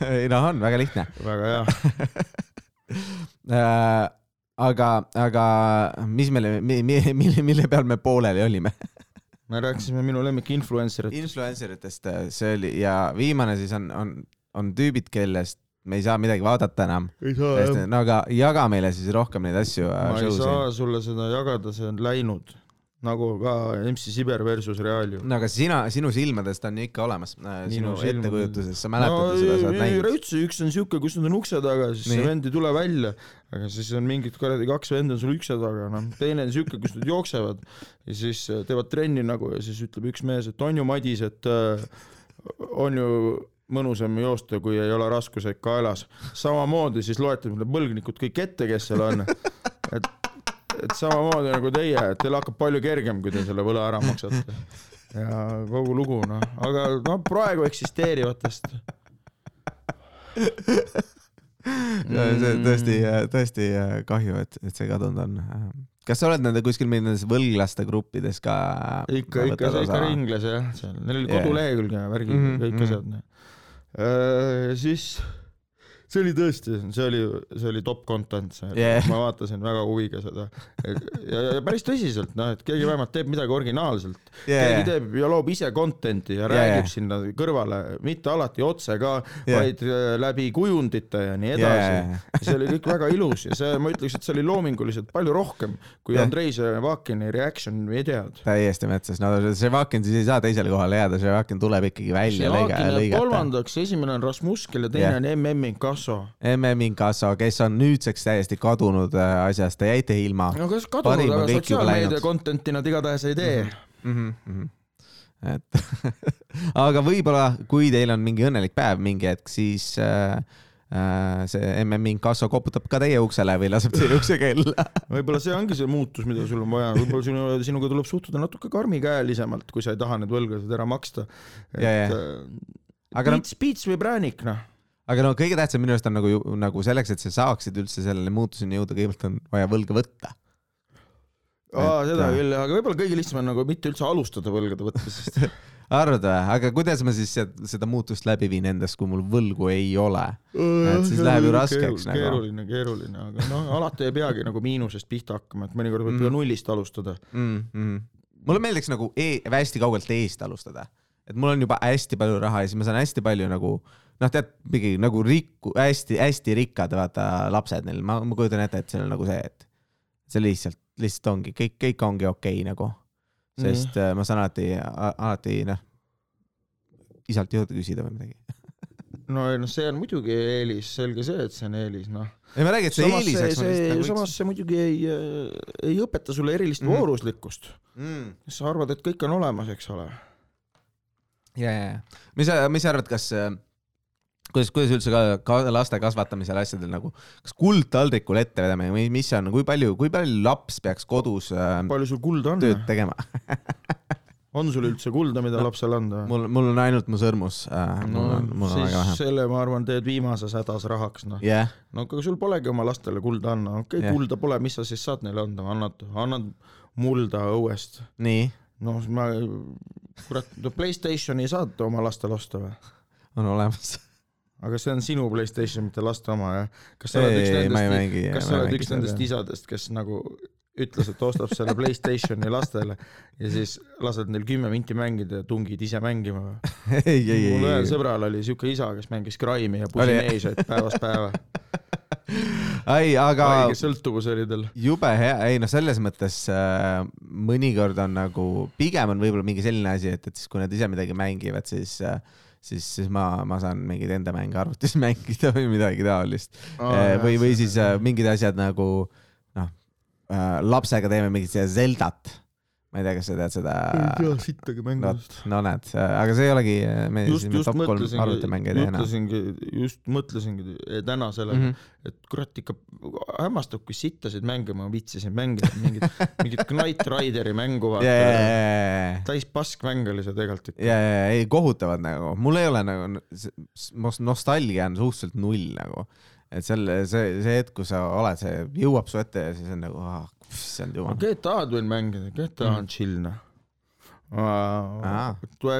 Speaker 1: ei noh , on väga lihtne .
Speaker 2: väga hea .
Speaker 1: Äh, aga , aga mis meile , mille , mille peal me pooleli olime ?
Speaker 2: me rääkisime minu lemmik influencer , et
Speaker 1: <laughs> influencer itest äh, see oli ja viimane siis on , on , on tüübid , kellest me ei saa midagi vaadata enam .
Speaker 2: ei saa jah
Speaker 1: täiesti , no aga jaga meile siis rohkem neid asju . äh,
Speaker 2: ma ei saa sulle seda jagada , see on läinud . nagu ka MC Siber versus Real ju .
Speaker 1: no aga sina , sinu silmadest on ju ikka olemas , sinu
Speaker 2: Minu silmad-
Speaker 1: ettekujutuses , sa mäletad no, seda , sa oled
Speaker 2: ei
Speaker 1: näinud .
Speaker 2: üldse , üks on siuke , kus nad on ukse taga , siis
Speaker 1: Nii.
Speaker 2: see vend ei tule välja , aga siis on mingid kuradi kaks venda on sul ukse taga , noh , teine on siuke , kus nad jooksevad ja siis äh, teevad trenni nagu ja siis ütleb üks mees , et on ju Madis , et äh, on ju mõnusam joosta , kui ei ole raskuseid kaelas . samamoodi siis loetleb need põlgnikud kõik ette , kes seal on . et , et samamoodi nagu teie , et teil hakkab palju kergem , kui te selle võla ära maksate . ja kogu lugu noh , aga noh , praegu eksisteerivatest
Speaker 1: Äh, see
Speaker 2: mm.
Speaker 1: on tõesti , tõesti äh, kahju , et , et see kadunud on . kas sa oled nende kuskil nendes võlglaste gruppides ka ? äh, nagu
Speaker 2: ikka , ikka , ikka . ringles jah , seal , neil oli
Speaker 1: Jaa.
Speaker 2: kodulehekülg ja värgid mm
Speaker 1: Mhm,
Speaker 2: -hmm, kõik
Speaker 1: mhm.
Speaker 2: asjad mm . -hmm. siis see oli tõesti , see oli , see oli top content , see oli
Speaker 1: Jaa.
Speaker 2: yeah. , ma vaatasin väga huviga seda ja, ja, ja päris tõsiselt , noh , et keegi vähemalt teeb midagi originaalselt yeah. , keegi teeb ja loob ise content'i ja
Speaker 1: Jaa,
Speaker 2: yeah.
Speaker 1: jaa.
Speaker 2: räägib sinna kõrvale , mitte alati otse ka
Speaker 1: Jaa.
Speaker 2: yeah. , vaid äh, läbi kujundite ja nii edasi yeah. . see oli kõik väga ilus ja see , ma ütleks , et see oli loominguliselt palju rohkem kui
Speaker 1: Jah.
Speaker 2: yeah. Andrei Zevakini reaction videod .
Speaker 1: täiesti metsas , no Ševakin siis ei saa teisele kohale jääda , Ševakin tuleb ikkagi välja lõiga-
Speaker 2: Slovakkia jääb
Speaker 1: lõigata .
Speaker 2: kolmandaks , esimene on Rasmuskel ja teine
Speaker 1: Jah.
Speaker 2: on MM Inkasso .
Speaker 1: MM Inkasso , kes on nüüdseks täiesti kadunud äh, asjast , te jäite ilma .
Speaker 2: no kas
Speaker 1: Parim on
Speaker 2: kadunud ,
Speaker 1: Ah, kõik
Speaker 2: aga
Speaker 1: juba
Speaker 2: sotsiaalmeedia
Speaker 1: läinud.
Speaker 2: content'i nad igatahes ei tee .
Speaker 1: mm . -hmm. et <laughs> aga võib-olla , kui teil on mingi õnnelik päev mingi hetk , siis äh, äh, see MM Inkasso koputab ka teie uksele või laseb teie ukse kella .
Speaker 2: <laughs> võib-olla see ongi see muutus , mida sul on vaja , võib-olla sinu , sinuga tuleb suhtuda natuke karmikäelisemalt , kui sa ei taha neid võlgasid ära maksta .
Speaker 1: Jaa, jaa.
Speaker 2: et
Speaker 1: aga noh ,
Speaker 2: Piits , Piits või Präänik , noh .
Speaker 1: aga no kõige tähtsam minu arust on nagu , nagu selleks , et sa saaksid üldse sellele muutuseni jõuda , kõigepealt on vaja võlga võtta .
Speaker 2: aa ,
Speaker 1: Et,
Speaker 2: seda
Speaker 1: äh,
Speaker 2: küll , aga võib-olla kõige lihtsam on nagu mitte üldse alustada võlgade võtmisest .
Speaker 1: <laughs> arvad või ? aga kuidas ma siis se- seda muutust läbi viin endas , kui mul võlgu ei ole ? Et siis läheb ju raskeks nagu.
Speaker 2: keeruline , keeruline , aga noh , alati ei peagi nagu miinusest pihta hakkama , et mõnikord võib ju nullist alustada .
Speaker 1: mm . -hmm. mulle meeldiks nagu e hästi kaugelt eest alustada , et mul on juba hästi palju raha ja siis ma saan hästi palju nagu noh , tead mingi nagu rikku , hästi-hästi rikkad , vaata lapsed neil , ma , ma kujutan ette , et see on nagu see , et see lihtsalt , lihtsalt ongi kõik , kõik ongi okei okay, nagu , sest mm. ma saan alati , alati noh , isalt juurde küsida või midagi .
Speaker 2: no ei noh , see on muidugi eelis , selge see , et see on eelis , noh .
Speaker 1: ei , ma räägin , et see
Speaker 2: samas see ,
Speaker 1: eeliseks on
Speaker 2: see ,
Speaker 1: lihtsalt nagu
Speaker 2: samas see muidugi ei , ei õpeta sulle erilist
Speaker 1: Mhm.
Speaker 2: mm. vooruslikkust .
Speaker 1: mm. .
Speaker 2: sa arvad , et kõik on olemas , eks ole .
Speaker 1: ja , ja , ja . mis sa , mis sa arvad , kas , kuidas , kuidas üldse ka, ka laste kasvatamisel asjadel nagu , kas kuldtaldrikul ette vedamine või mis see on , kui palju , kui palju laps peaks kodus äh,
Speaker 2: palju sul kulda on ?
Speaker 1: tööd tegema ?
Speaker 2: on sul üldse kulda , mida lapsele anda ?
Speaker 1: mul , mul on ainult mu sõrmus äh, , mul on , mul on väga
Speaker 2: siis
Speaker 1: vähe .
Speaker 2: selle ma arvan , teed viimases hädas rahaks , noh .
Speaker 1: jah ,
Speaker 2: no aga sul polegi oma lastele kulda anna , okei
Speaker 1: Jah.
Speaker 2: okay, , kulda pole , mis sa siis saad neile anda , annad , annad mulda õuest .
Speaker 1: nii ,
Speaker 2: noh , ma , kurat , no Playstationi saad oma lastele osta või ?
Speaker 1: on olemas . <laughs>
Speaker 2: aga see on sinu Playstation , mitte laste oma , jah ? kas sa oled üks
Speaker 1: ei , ma ei
Speaker 2: nendest ,
Speaker 1: mängi .
Speaker 2: kas sa oled üks nendest isadest , kes nagu ütles , et ostab
Speaker 1: <laughs>
Speaker 2: selle Playstationi lastele ja siis lased neil kümme minti mängida ja tungid ise mängima või ?
Speaker 1: ei , ei , ei ,
Speaker 2: mul ühel
Speaker 1: ei ,
Speaker 2: sõbral oli siuke isa , kes mängis Crime'i ja
Speaker 1: Oli, jah?
Speaker 2: Pusineesaid päevast
Speaker 1: <laughs>
Speaker 2: päeva .
Speaker 1: ei , aga
Speaker 2: haige sõltuvus oli tal .
Speaker 1: jube hea , ei noh , selles mõttes äh, mõnikord on nagu , pigem on võib-olla mingi selline asi , et , et siis kui nad ise midagi mängivad , siis äh, siis , siis ma , ma saan mingeid enda mänge arvutis <laughs> mängida või midagi taolist . või , või siis äh, mingid asjad nagu noh , lapsega teeme mingit seda Zeldat . ma ei tea , kas sa tead seda ?
Speaker 2: sittagi
Speaker 1: vot , no näed , aga see ei olegi , me
Speaker 2: just ,
Speaker 1: siis
Speaker 2: just
Speaker 1: top kolm
Speaker 2: mõtlesingi
Speaker 1: arvutimänge ei , Mhm. tee enam .
Speaker 2: mõtlesingi , just mõtlesingi täna sellele mm , -hmm. et kurat ikka hämmastab , kui sittasid mänge ma viitsisin mängida ,
Speaker 1: <laughs>
Speaker 2: mingit , mingit Knight Rideri mängu
Speaker 1: ja , ja ,
Speaker 2: vaata .
Speaker 1: ja ,
Speaker 2: täis paskmäng oli see tegelikult ikka .
Speaker 1: ja , ja , ei kohutavad nagu , mul ei ole nagu , nostalgia on suhteliselt null nagu . et selle , see , see hetk , kui sa oled , see jõuab su ette ja siis on nagu , issand jumal .
Speaker 2: GTA-d võin mängida , GTA
Speaker 1: Mhm.
Speaker 2: on chill noh .
Speaker 1: Aa.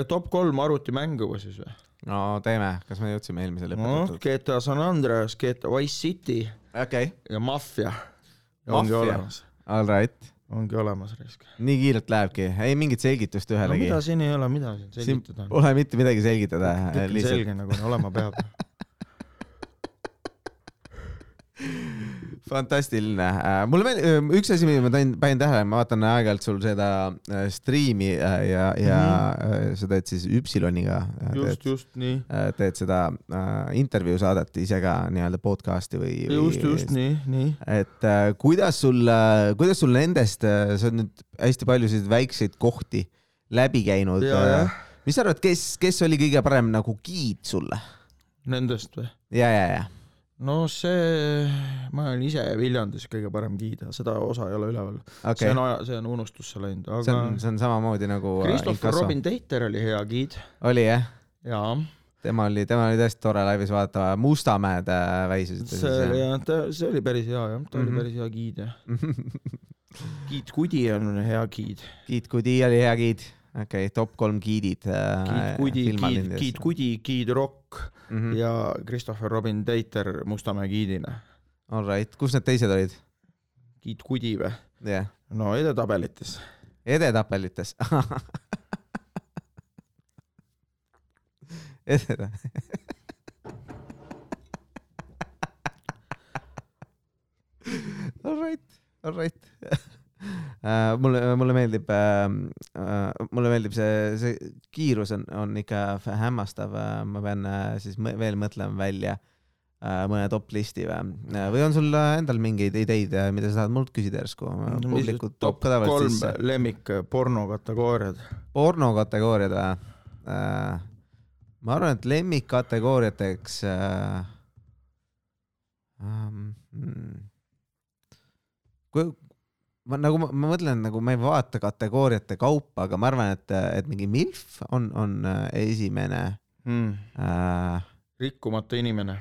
Speaker 2: top kolm arvutimängu või siis või ?
Speaker 1: no teeme , kas me jõudsime eelmise
Speaker 2: noh ,
Speaker 1: lõpetatud ?
Speaker 2: GTA San Andreas , GTA Wise City
Speaker 1: okei ,
Speaker 2: ja Mafia . ongi
Speaker 1: Mafia.
Speaker 2: olemas ,
Speaker 1: all right ,
Speaker 2: ongi olemas risk .
Speaker 1: nii kiirelt lähebki , ei mingit selgitust
Speaker 2: no
Speaker 1: ühelegi
Speaker 2: mida
Speaker 1: no, .
Speaker 2: siin ei ole , mida siin
Speaker 1: siin
Speaker 2: selgitada on ?
Speaker 1: pole mitte midagi selgitada ,
Speaker 2: kõik on
Speaker 1: Äh, lihtsalt
Speaker 2: selge , nagu on, olema
Speaker 1: <laughs>
Speaker 2: peab .
Speaker 1: fantastiline . mulle meeldib , üks asi , mida ma tain- panin tähele , ma vaatan aeg-ajalt sul seda äh, striimi äh, ja , ja mm. sa teed siis Üpsiloniga ,
Speaker 2: Mhm. just ,
Speaker 1: teed,
Speaker 2: just nii .
Speaker 1: äh, teed seda äh, intervjuu saadet ise ka nii-öelda podcast'i või .
Speaker 2: just , just . nii , nii .
Speaker 1: et äh, kuidas sul , kuidas sul nendest , sa oled nüüd hästi paljusid väikseid kohti läbi käinud äh,
Speaker 2: Ja, jah. .
Speaker 1: mis sa arvad , kes , kes oli kõige parem nagu giid sulle ?
Speaker 2: Nendest või ?
Speaker 1: ja , ja , ja .
Speaker 2: no see , ma olen ise Viljandis kõige parem giida , seda osa ei ole üleval okay. .
Speaker 1: okei
Speaker 2: see on , aja , see on unustusse läinud ,
Speaker 1: see
Speaker 2: aga
Speaker 1: on , see on samamoodi nagu .
Speaker 2: Christopher Robin Teiter oli hea giid
Speaker 1: oli jah ?
Speaker 2: jaa ,
Speaker 1: tema oli , tema oli tõesti tore laivis , vaata Mustamäed äh, väisesid .
Speaker 2: see oli jah , ta , see oli päris hea jah , ta mm -hmm.
Speaker 1: Mhm.
Speaker 2: oli päris hea giid jah .
Speaker 1: <laughs>
Speaker 2: giid Kudi on hea giid .
Speaker 1: Giid Kudi oli hea giid , okei okay, , top kolm äh, giidid .
Speaker 2: giid Kudi , giid , giid Kudi , giid Rock mm.
Speaker 1: Kudi .
Speaker 2: ja Christopher Robin Teiter Mustamäe giidina .
Speaker 1: All right , kus need teised olid ?
Speaker 2: giid Kudi või ?
Speaker 1: jah yeah. ,
Speaker 2: no edetabelites .
Speaker 1: edetabelites . edeta- , all right , all right <laughs> uh, . mulle , mulle meeldib uh, , uh, mulle meeldib see , see kiirus on , on ikka f- hämmastav uh, . ma pean uh, siis mõ veel mõtlema välja uh, mõne top listi või uh, , või on sul uh, endal mingeid ideid uh, , mida sa tahad mult küsida järsku ? publikud top ka tavaliselt äh,
Speaker 2: kolm
Speaker 1: sisse .
Speaker 2: lemmik pornokategooriad .
Speaker 1: porno kategooriad või uh, ? ma arvan , et lemmikkategooriateks uh, . Um, mm. kui ma nagu ma, ma mõtlen , nagu ma ei vaata kategooriate kaupa , aga ma arvan , et , et mingi MILF on , on äh, esimene
Speaker 2: mm. .
Speaker 1: äh, .
Speaker 2: rikkumata inimene .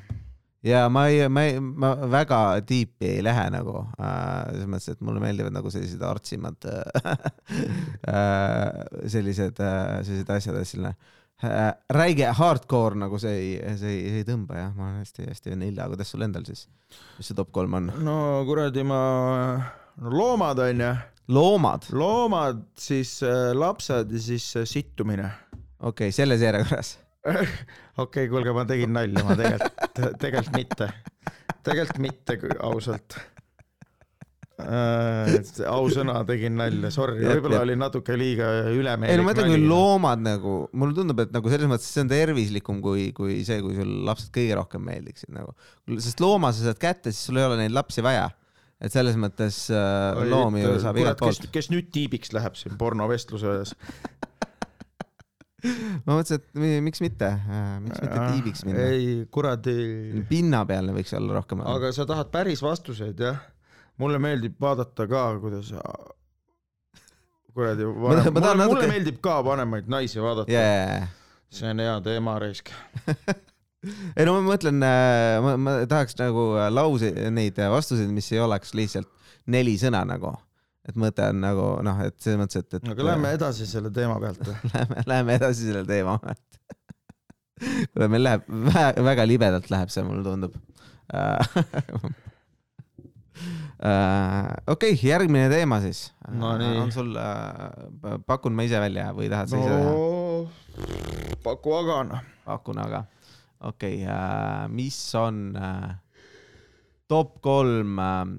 Speaker 1: ja ma ei , ma ei , ma väga tiipi ei lähe nagu äh, selles mõttes , et mulle meeldivad nagu sellised artsimad äh, äh, sellised äh, , sellised asjad , et selline äh, räige hardcore nagu see ei , see ei , see ei tõmba jah , ma olen hästi-hästi nelja , kuidas sul endal siis , mis see top kolm on ?
Speaker 2: no kuradi ma , no loomad onju ,
Speaker 1: loomad ,
Speaker 2: loomad , siis äh, lapsed ja siis äh, sittumine . <laughs>
Speaker 1: okei okay, , selles järjekorras
Speaker 2: okei , kuulge , ma tegin nalja , ma tegelikult , <laughs> tegelikult mitte , tegelikult mitte , ausalt . ausõna tegin nalja , sorry ,
Speaker 1: Jep,
Speaker 2: võib-olla
Speaker 1: jep.
Speaker 2: oli natuke liiga ülemeelik .
Speaker 1: ei no ma ütlen , kui . loomad nagu , mulle tundub , et nagu selles mõttes see on tervislikum kui , kui see , kui sul lapsed kõige rohkem meeldiksid nagu . sest looma sa saad kätte , siis sul ei ole neid lapsi vaja . et selles mõttes äh, loomi ju saab igalt poolt ..
Speaker 2: kes nüüd tiibiks läheb siin pornovestluse ees ?
Speaker 1: ma mõtlesin , et mi- miks mitte , miks <laughs> mitte tiibiks minna .
Speaker 2: ei , kuradi .
Speaker 1: pinnapealne võiks olla rohkem .
Speaker 2: aga sa tahad päris vastuseid , jah ? mulle meeldib vaadata ka , kuidas kuradi ,
Speaker 1: ma
Speaker 2: mulle,
Speaker 1: tahan
Speaker 2: mulle, natuke... mulle
Speaker 1: natuke-
Speaker 2: meeldib ka vanemaid naisi vaadata yeah. ,
Speaker 1: jajah ,
Speaker 2: see on hea teema , Reisk .
Speaker 1: ei no ma mõtlen , ma , ma tahaks nagu äh, lause , neid äh, vastuseid , mis ei oleks lihtsalt neli sõna nagu , et mõte on nagu noh , et selles mõttes , et , et .
Speaker 2: aga lähme edasi selle teema pealt . eh.
Speaker 1: Lähme , läheme edasi selle teema pealt . kuule , meil läheb väga, väga libedalt läheb see , mulle tundub . Äh, okei , järgmine teema siis
Speaker 2: No
Speaker 1: Äh,
Speaker 2: nii.
Speaker 1: on sul , pakun ma ise välja või tahad sa ise teha ?
Speaker 2: no paku agana .
Speaker 1: pakun , aga okei okay, , mis on äh, top kolm äh, ?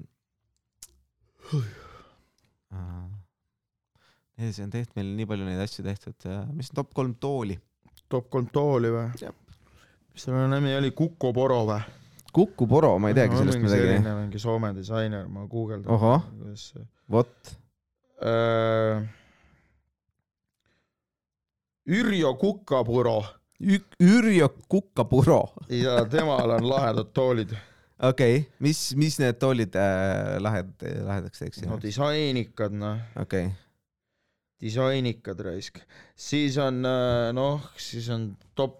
Speaker 1: ei , äh, see on tehtud , meil on nii palju neid asju tehtud , mis on top kolm tooli ?
Speaker 2: top kolm tooli või ?
Speaker 1: Jah.
Speaker 2: mis selle nimi oli , Kuku Poro või ?
Speaker 1: Kuku Poro , ma ei teagi sellest midagi .
Speaker 2: mingi Soome disainer , ma guugeldan .
Speaker 1: ohoh ,
Speaker 2: kuidas see
Speaker 1: vot .
Speaker 2: äh, . Yrjö Kukkapuro
Speaker 1: Ürjo Kukapuro .
Speaker 2: ja temal on lahedad toolid .
Speaker 1: okei okay. , mis , mis need toolid äh, lahed , lahedaks teeksid
Speaker 2: no
Speaker 1: no, ?
Speaker 2: disainikad noh ,
Speaker 1: okei okay. ,
Speaker 2: disainikad raisk . siis on äh, noh , siis on top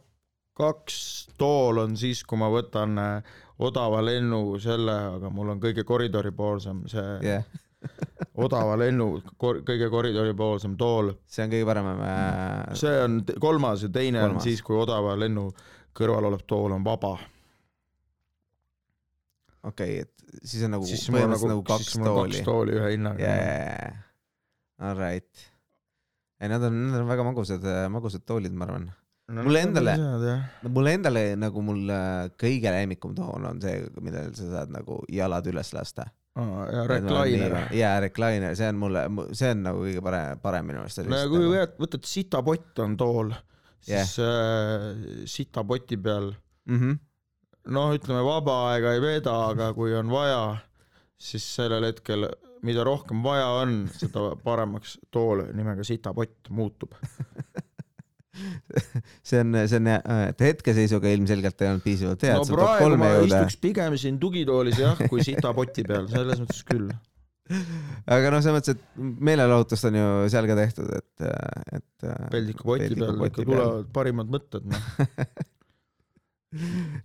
Speaker 2: kaks tool on siis , kui ma võtan äh, odava lennu selle , aga mul on kõige koridoripoolsem see yeah.
Speaker 1: jah ,
Speaker 2: odava lennu kor, kõige koridoripoolsem tool .
Speaker 1: see on kõige parem äh, .
Speaker 2: see on t- kolmas ja teine kolmas.
Speaker 1: Kolmas.
Speaker 2: on siis , kui odava lennu kõrval olev tool on vaba
Speaker 1: okei okay, , et siis on nagu
Speaker 2: siis mul on
Speaker 1: põhimõtteliselt
Speaker 2: nagu
Speaker 1: nagu kaks
Speaker 2: siis mul on
Speaker 1: tooli
Speaker 2: kaks . tooli ühe hinnaga yeah. .
Speaker 1: jajajah , alright . ei , nad on , nad on väga magusad , magusad toolid , ma arvan .
Speaker 2: No,
Speaker 1: Mulle endale- mulle endale nagu mul äh, kõige lemmikum tool on see , millel sa saad nagu jalad üles lasta .
Speaker 2: ja recliner .
Speaker 1: jaa , recliner , see on mulle , see on nagu kõige parem , parem minu meelest .
Speaker 2: no ja kui võtad , võtad sitapott on tool , siis yeah. äh, sitapoti peal ,
Speaker 1: mm .
Speaker 2: noh , ütleme vaba aega ei veeda , aga kui on vaja , siis sellel hetkel , mida rohkem vaja on , seda paremaks tool nimega sitapott muutub .
Speaker 1: -hmm. see on , see on , et hetkeseisuga ilmselgelt ei olnud piisavalt hea ,
Speaker 2: no
Speaker 1: et sa top
Speaker 2: praegu
Speaker 1: kolme
Speaker 2: ma
Speaker 1: jõuda .
Speaker 2: istuks pigem siin tugitoolis jah , kui sitapoti peal , selles mõttes küll .
Speaker 1: <laughs> aga noh , selles mõttes , et meelelahutust on ju seal ka tehtud , et , et . äh,
Speaker 2: peldikupoti peal ikka tulevad parimad mõtted , noh .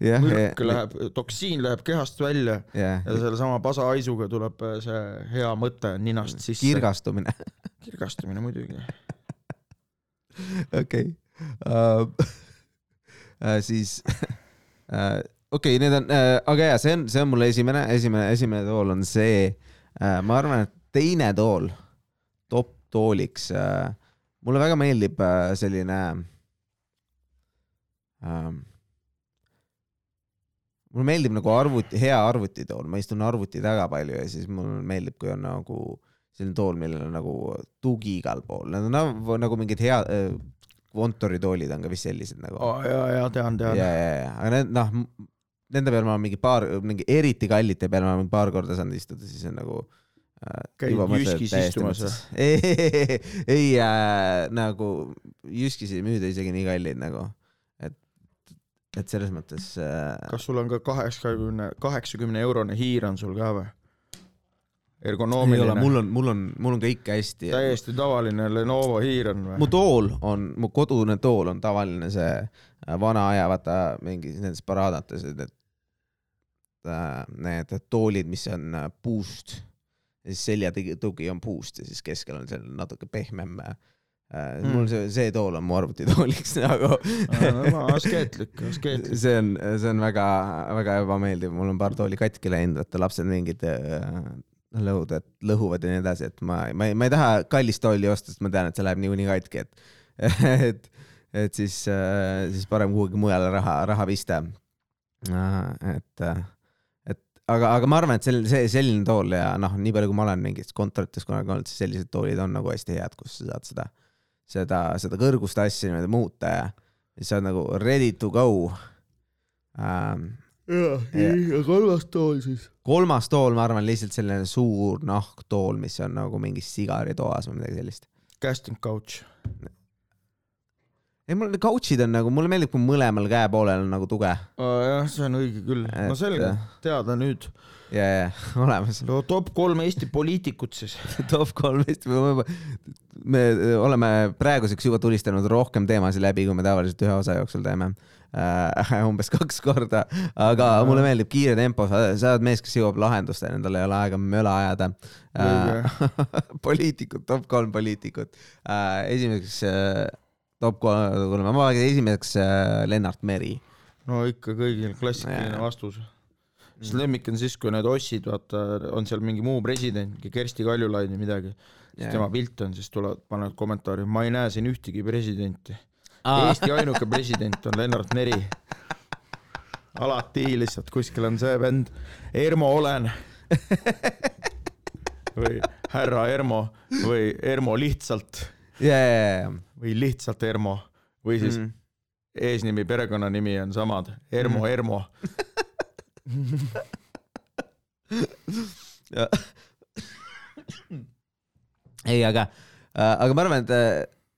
Speaker 1: jah ,
Speaker 2: mürk läheb , toksiin läheb kehast välja
Speaker 1: jah ,
Speaker 2: ja sellesama pasahaisuga tuleb äh, see hea mõte ninast sisse .
Speaker 1: kirgastumine . <laughs>
Speaker 2: kirgastumine muidugi .
Speaker 1: okei uh, . Uh, siis uh, , okei okay, , need on uh, , aga jaa , see on , see on mul esimene , esimene , esimene tool on see uh, , ma arvan , et teine tool , top tooliks uh, . mulle väga meeldib uh, selline uh, . mulle meeldib nagu arvuti , hea arvutitool , ma istun arvuti taga palju ja siis mulle meeldib , kui on nagu selline tool , millel on nagu tugi igal pool , need on nagu, nagu mingid hea , kontoritoolid on ka vist sellised nagu
Speaker 2: aa jaa , jaa , tean ,
Speaker 1: ja ,
Speaker 2: tean .
Speaker 1: ja , ja , aga need noh , nende peal ma olen mingi paar , mingi eriti kallite peal ma olen paar korda saanud istuda , siis on nagu äh,
Speaker 2: Käid
Speaker 1: juba mõtled, et
Speaker 2: Jyskis
Speaker 1: täiesti
Speaker 2: istumas või?
Speaker 1: mõttes- <laughs> ei , ei äh, nagu Jyskis ei müüda isegi nii kalleid nagu , et , et selles mõttes äh, .
Speaker 2: kas sul on ka kaheksakümne , kaheksakümne eurone hiir on sul ka või ? ergonoomiline ,
Speaker 1: mul on , mul on , mul on kõik hästi .
Speaker 2: täiesti tavaline Lenovo hiir on
Speaker 1: mu
Speaker 2: või ?
Speaker 1: tool on , mu kodune tool on tavaline see äh, vana aja , vaata mingis nendes paraadates , et et äh, need toolid , mis on äh, puust ja siis selja tigi- tugi on puust ja siis keskel on seal natuke pehmem äh,
Speaker 2: Mm.
Speaker 1: mul see , see tool on mu arvutitooliks <laughs> nagu .
Speaker 2: askeetlik , askeetlik .
Speaker 1: see on , see on väga-väga ebameeldiv , mul on paar tooli katki läinud , vaata lapsed mingid äh, lõhud , et lõhuvad ja nii edasi , <laughs> et ma , ma ei , ma ei taha kallist tooli osta , sest ma tean , et see läheb niikuinii katki , et , et , et siis , siis parem kuhugi mujale raha , raha pista . et , et aga , aga ma arvan , et sel- , see selline tool ja noh , nii palju , kui ma olen mingites kontorites kunagi olnud , siis sellised toolid on nagu hästi head , kus sa saad seda , seda , seda kõrgust asja niimoodi muuta ja siis sa oled nagu ready to go ähm, .
Speaker 2: ja kolmas tool siis .
Speaker 1: kolmas tool , ma arvan , lihtsalt selline suur nahktool , mis on nagu mingis sigaritoas või midagi sellist .
Speaker 2: Casting couch .
Speaker 1: ei , mul couch'id on nagu , mulle meeldib , kui mõlemal käepoolel on nagu tuge .
Speaker 2: jah , see on õige küll . no selge , teada nüüd .
Speaker 1: ja , ja <laughs> olemas .
Speaker 2: no top kolm Eesti poliitikut siis .
Speaker 1: <laughs> top kolm Eesti , me äh, oleme praeguseks juba tulistanud rohkem teemasid läbi , kui me tavaliselt ühe osa jooksul teeme äh, . <laughs> umbes kaks korda , aga mulle meeldib kiire tempo , sa oled mees , kes jõuab lahendusteni , tal ei ole aega möla ajada äh, . <laughs> poliitikud , top kolm poliitikut äh, . esimeseks äh, top kolm , ma vaatan esimeseks äh, Lennart Meri .
Speaker 2: no ikka kõigil klassikaline
Speaker 1: Jaa.
Speaker 2: vastus . sest lemmik on siis , kui need ossid , vaata , on seal mingi muu president , mingi Kersti Kaljulaid või midagi . siis tema pilt on , siis tulevad , panevad kommentaari , ma ei näe siin ühtegi presidenti . Eesti ainuke president on Lennart Meri . alati lihtsalt kuskil on see vend , Ermo olen . või härra Ermo või Ermo lihtsalt
Speaker 1: ja , ja ,
Speaker 2: või lihtsalt Ermo või siis
Speaker 1: ja .
Speaker 2: eesnimi , perekonnanimi on samad , Ermo mm. , Ermo .
Speaker 1: ei , aga , aga ma arvan , et äh,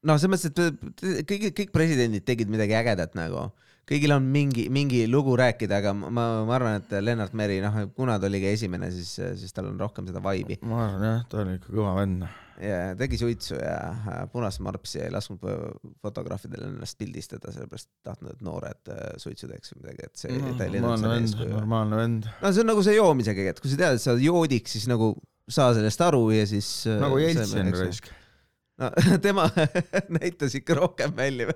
Speaker 1: noh , selles mõttes , et kõik , kõik presidendid tegid midagi ägedat nagu . kõigil on mingi , mingi lugu rääkida , aga ma , ma arvan , et Lennart Meri , noh , kuna ta oli ka esimene , siis , siis tal on rohkem seda vibe'i .
Speaker 2: ma arvan jah , ta oli ikka kõva vend . noh.
Speaker 1: ja tegi suitsu ja äh, punast marpsi ja ei lasknud fo- fotograafidel ennast pildistada , sellepärast ei tahtnud , et noored äh, suitsu teeks või midagi , et see no, , ta ei leidnud
Speaker 2: normaalne
Speaker 1: seda
Speaker 2: Mhm, vend ,
Speaker 1: eeskuju .
Speaker 2: normaalne vend .
Speaker 1: no see on nagu see joomisega , et kui sa tead , et sa oled joodik , siis nagu saa sellest aru ja siis . äh,
Speaker 2: nagu Jeltsin . raisk .
Speaker 1: no <laughs> tema näitas ikka rohkem välja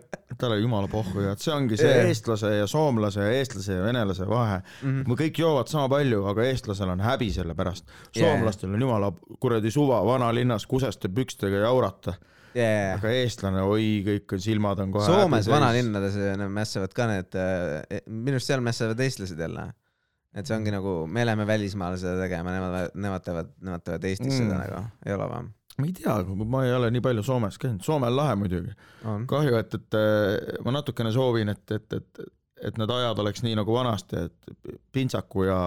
Speaker 2: tal oli jumala pohhu ja et see ongi see
Speaker 1: Jaa.
Speaker 2: eestlase ja soomlase ja eestlase ja venelase vahe .
Speaker 1: mm .
Speaker 2: me kõik joovad sama palju , aga eestlasel on häbi selle pärast .
Speaker 1: Jaa.
Speaker 2: soomlastel on jumala kuradi suva vanalinnas kuseste pükstega jaurata ,
Speaker 1: Yeah.
Speaker 2: aga eestlane , oi , kõik on silmad on kohe .
Speaker 1: Soomes . vanalinnades eh, nad mässavad ka need , minu arust seal mässavad eestlased jälle . et see ongi nagu , me läheme välismaale seda tegema , nemad , nemad teevad , nemad teevad Eestis mm. seda
Speaker 2: Mm.
Speaker 1: nagu , ei ole või ?
Speaker 2: ma ei tea , ma ei ole nii palju Soomes käinud , Soome on lahe muidugi .
Speaker 1: on .
Speaker 2: kahju , et , et äh, ma natukene soovin , et , et , et , et need ajad oleks nii nagu vanasti , et pintsaku ja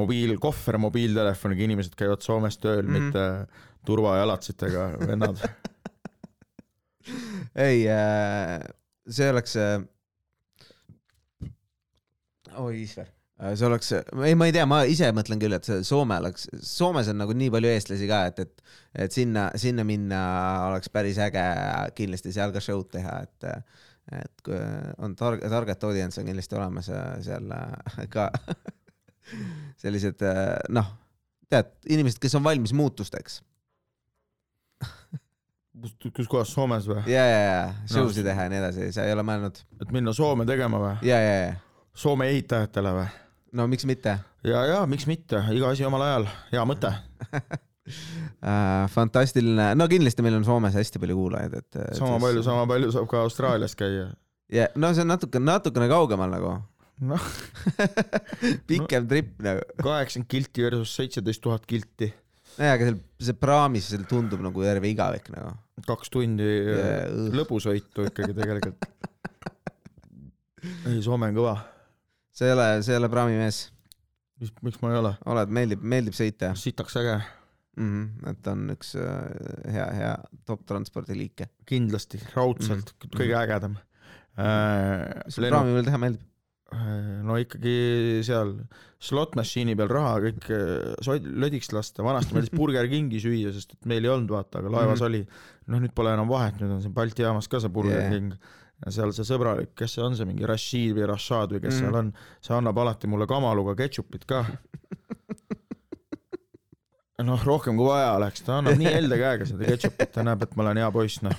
Speaker 2: mobiil , kohver mobiiltelefoniga inimesed käivad Soomes tööl
Speaker 1: Mhm.
Speaker 2: mm , -hmm. mitte turvajalatsitega
Speaker 1: <laughs>
Speaker 2: vennad .
Speaker 1: ei , see oleks . oi , Isver . see oleks , ei , ma ei tea , ma ise mõtlen küll , et see Soome oleks , Soomes on nagu nii palju eestlasi ka , et , et , et sinna , sinna minna oleks päris äge kindlasti seal ka show'd teha , et , et kui on targ- , target audience on kindlasti olemas äh, seal äh, ka <laughs> sellised äh, noh , tead , inimesed , kes on valmis muutusteks
Speaker 2: kus kohas Soomes või ?
Speaker 1: ja , ja , ja show si
Speaker 2: see-
Speaker 1: teha ja nii edasi , sa ei ole mõelnud
Speaker 2: et minna Soome tegema või ?
Speaker 1: ja , ja , ja
Speaker 2: Soome ehitajatele või ?
Speaker 1: no miks mitte
Speaker 2: ja , ja miks mitte , iga asi omal ajal , hea mõte .
Speaker 1: äh, . fantastiline , no kindlasti meil on Soomes hästi palju kuulajaid , et .
Speaker 2: sama palju , sama palju saab ka Austraalias käia .
Speaker 1: ja no see on natuke , natukene kaugemal nagu .
Speaker 2: noh ,
Speaker 1: pikem no. trip nagu ,
Speaker 2: kaheksakümmend kilti versus seitseteist tuhat kilti ,
Speaker 1: nojah , aga seal , see praamis , seal tundub nagu terve igavik nagu .
Speaker 2: kaks tundi yeah. lõbusõitu ikkagi tegelikult . ei , Soome on kõva
Speaker 1: sa ei ole , sa ei ole praamimees ,
Speaker 2: mis , miks ma ei ole ?
Speaker 1: oled , meeldib , meeldib sõita
Speaker 2: sitaks äge ,
Speaker 1: mm . -hmm. et on üks äh, hea , hea top transpordiliike .
Speaker 2: kindlasti , raudselt mm , -hmm. kõige ägedam
Speaker 1: mis sul praami
Speaker 2: äh, .
Speaker 1: peal teha meeldib ?
Speaker 2: no ikkagi seal slot machine'i peal raha kõik äh, sod- lödiks lasta , vanasti meeldis Burger Kingi süüa , sest et meil ei olnud vaata , aga laevas
Speaker 1: Mhm.
Speaker 2: mm -hmm. oli . noh , nüüd pole enam vahet , nüüd on siin Balti jaamas ka see Burger
Speaker 1: Yeah.
Speaker 2: yeah. King ja seal see sõbralik , kes see on see mingi Rashid või Rashad või kes
Speaker 1: Mhm.
Speaker 2: mm. seal on , see annab alati mulle kamaluga ketšupit ka noh , rohkem kui vaja oleks , ta annab nii helde käega seda ketšupit , ta näeb , et ma olen hea poiss , noh .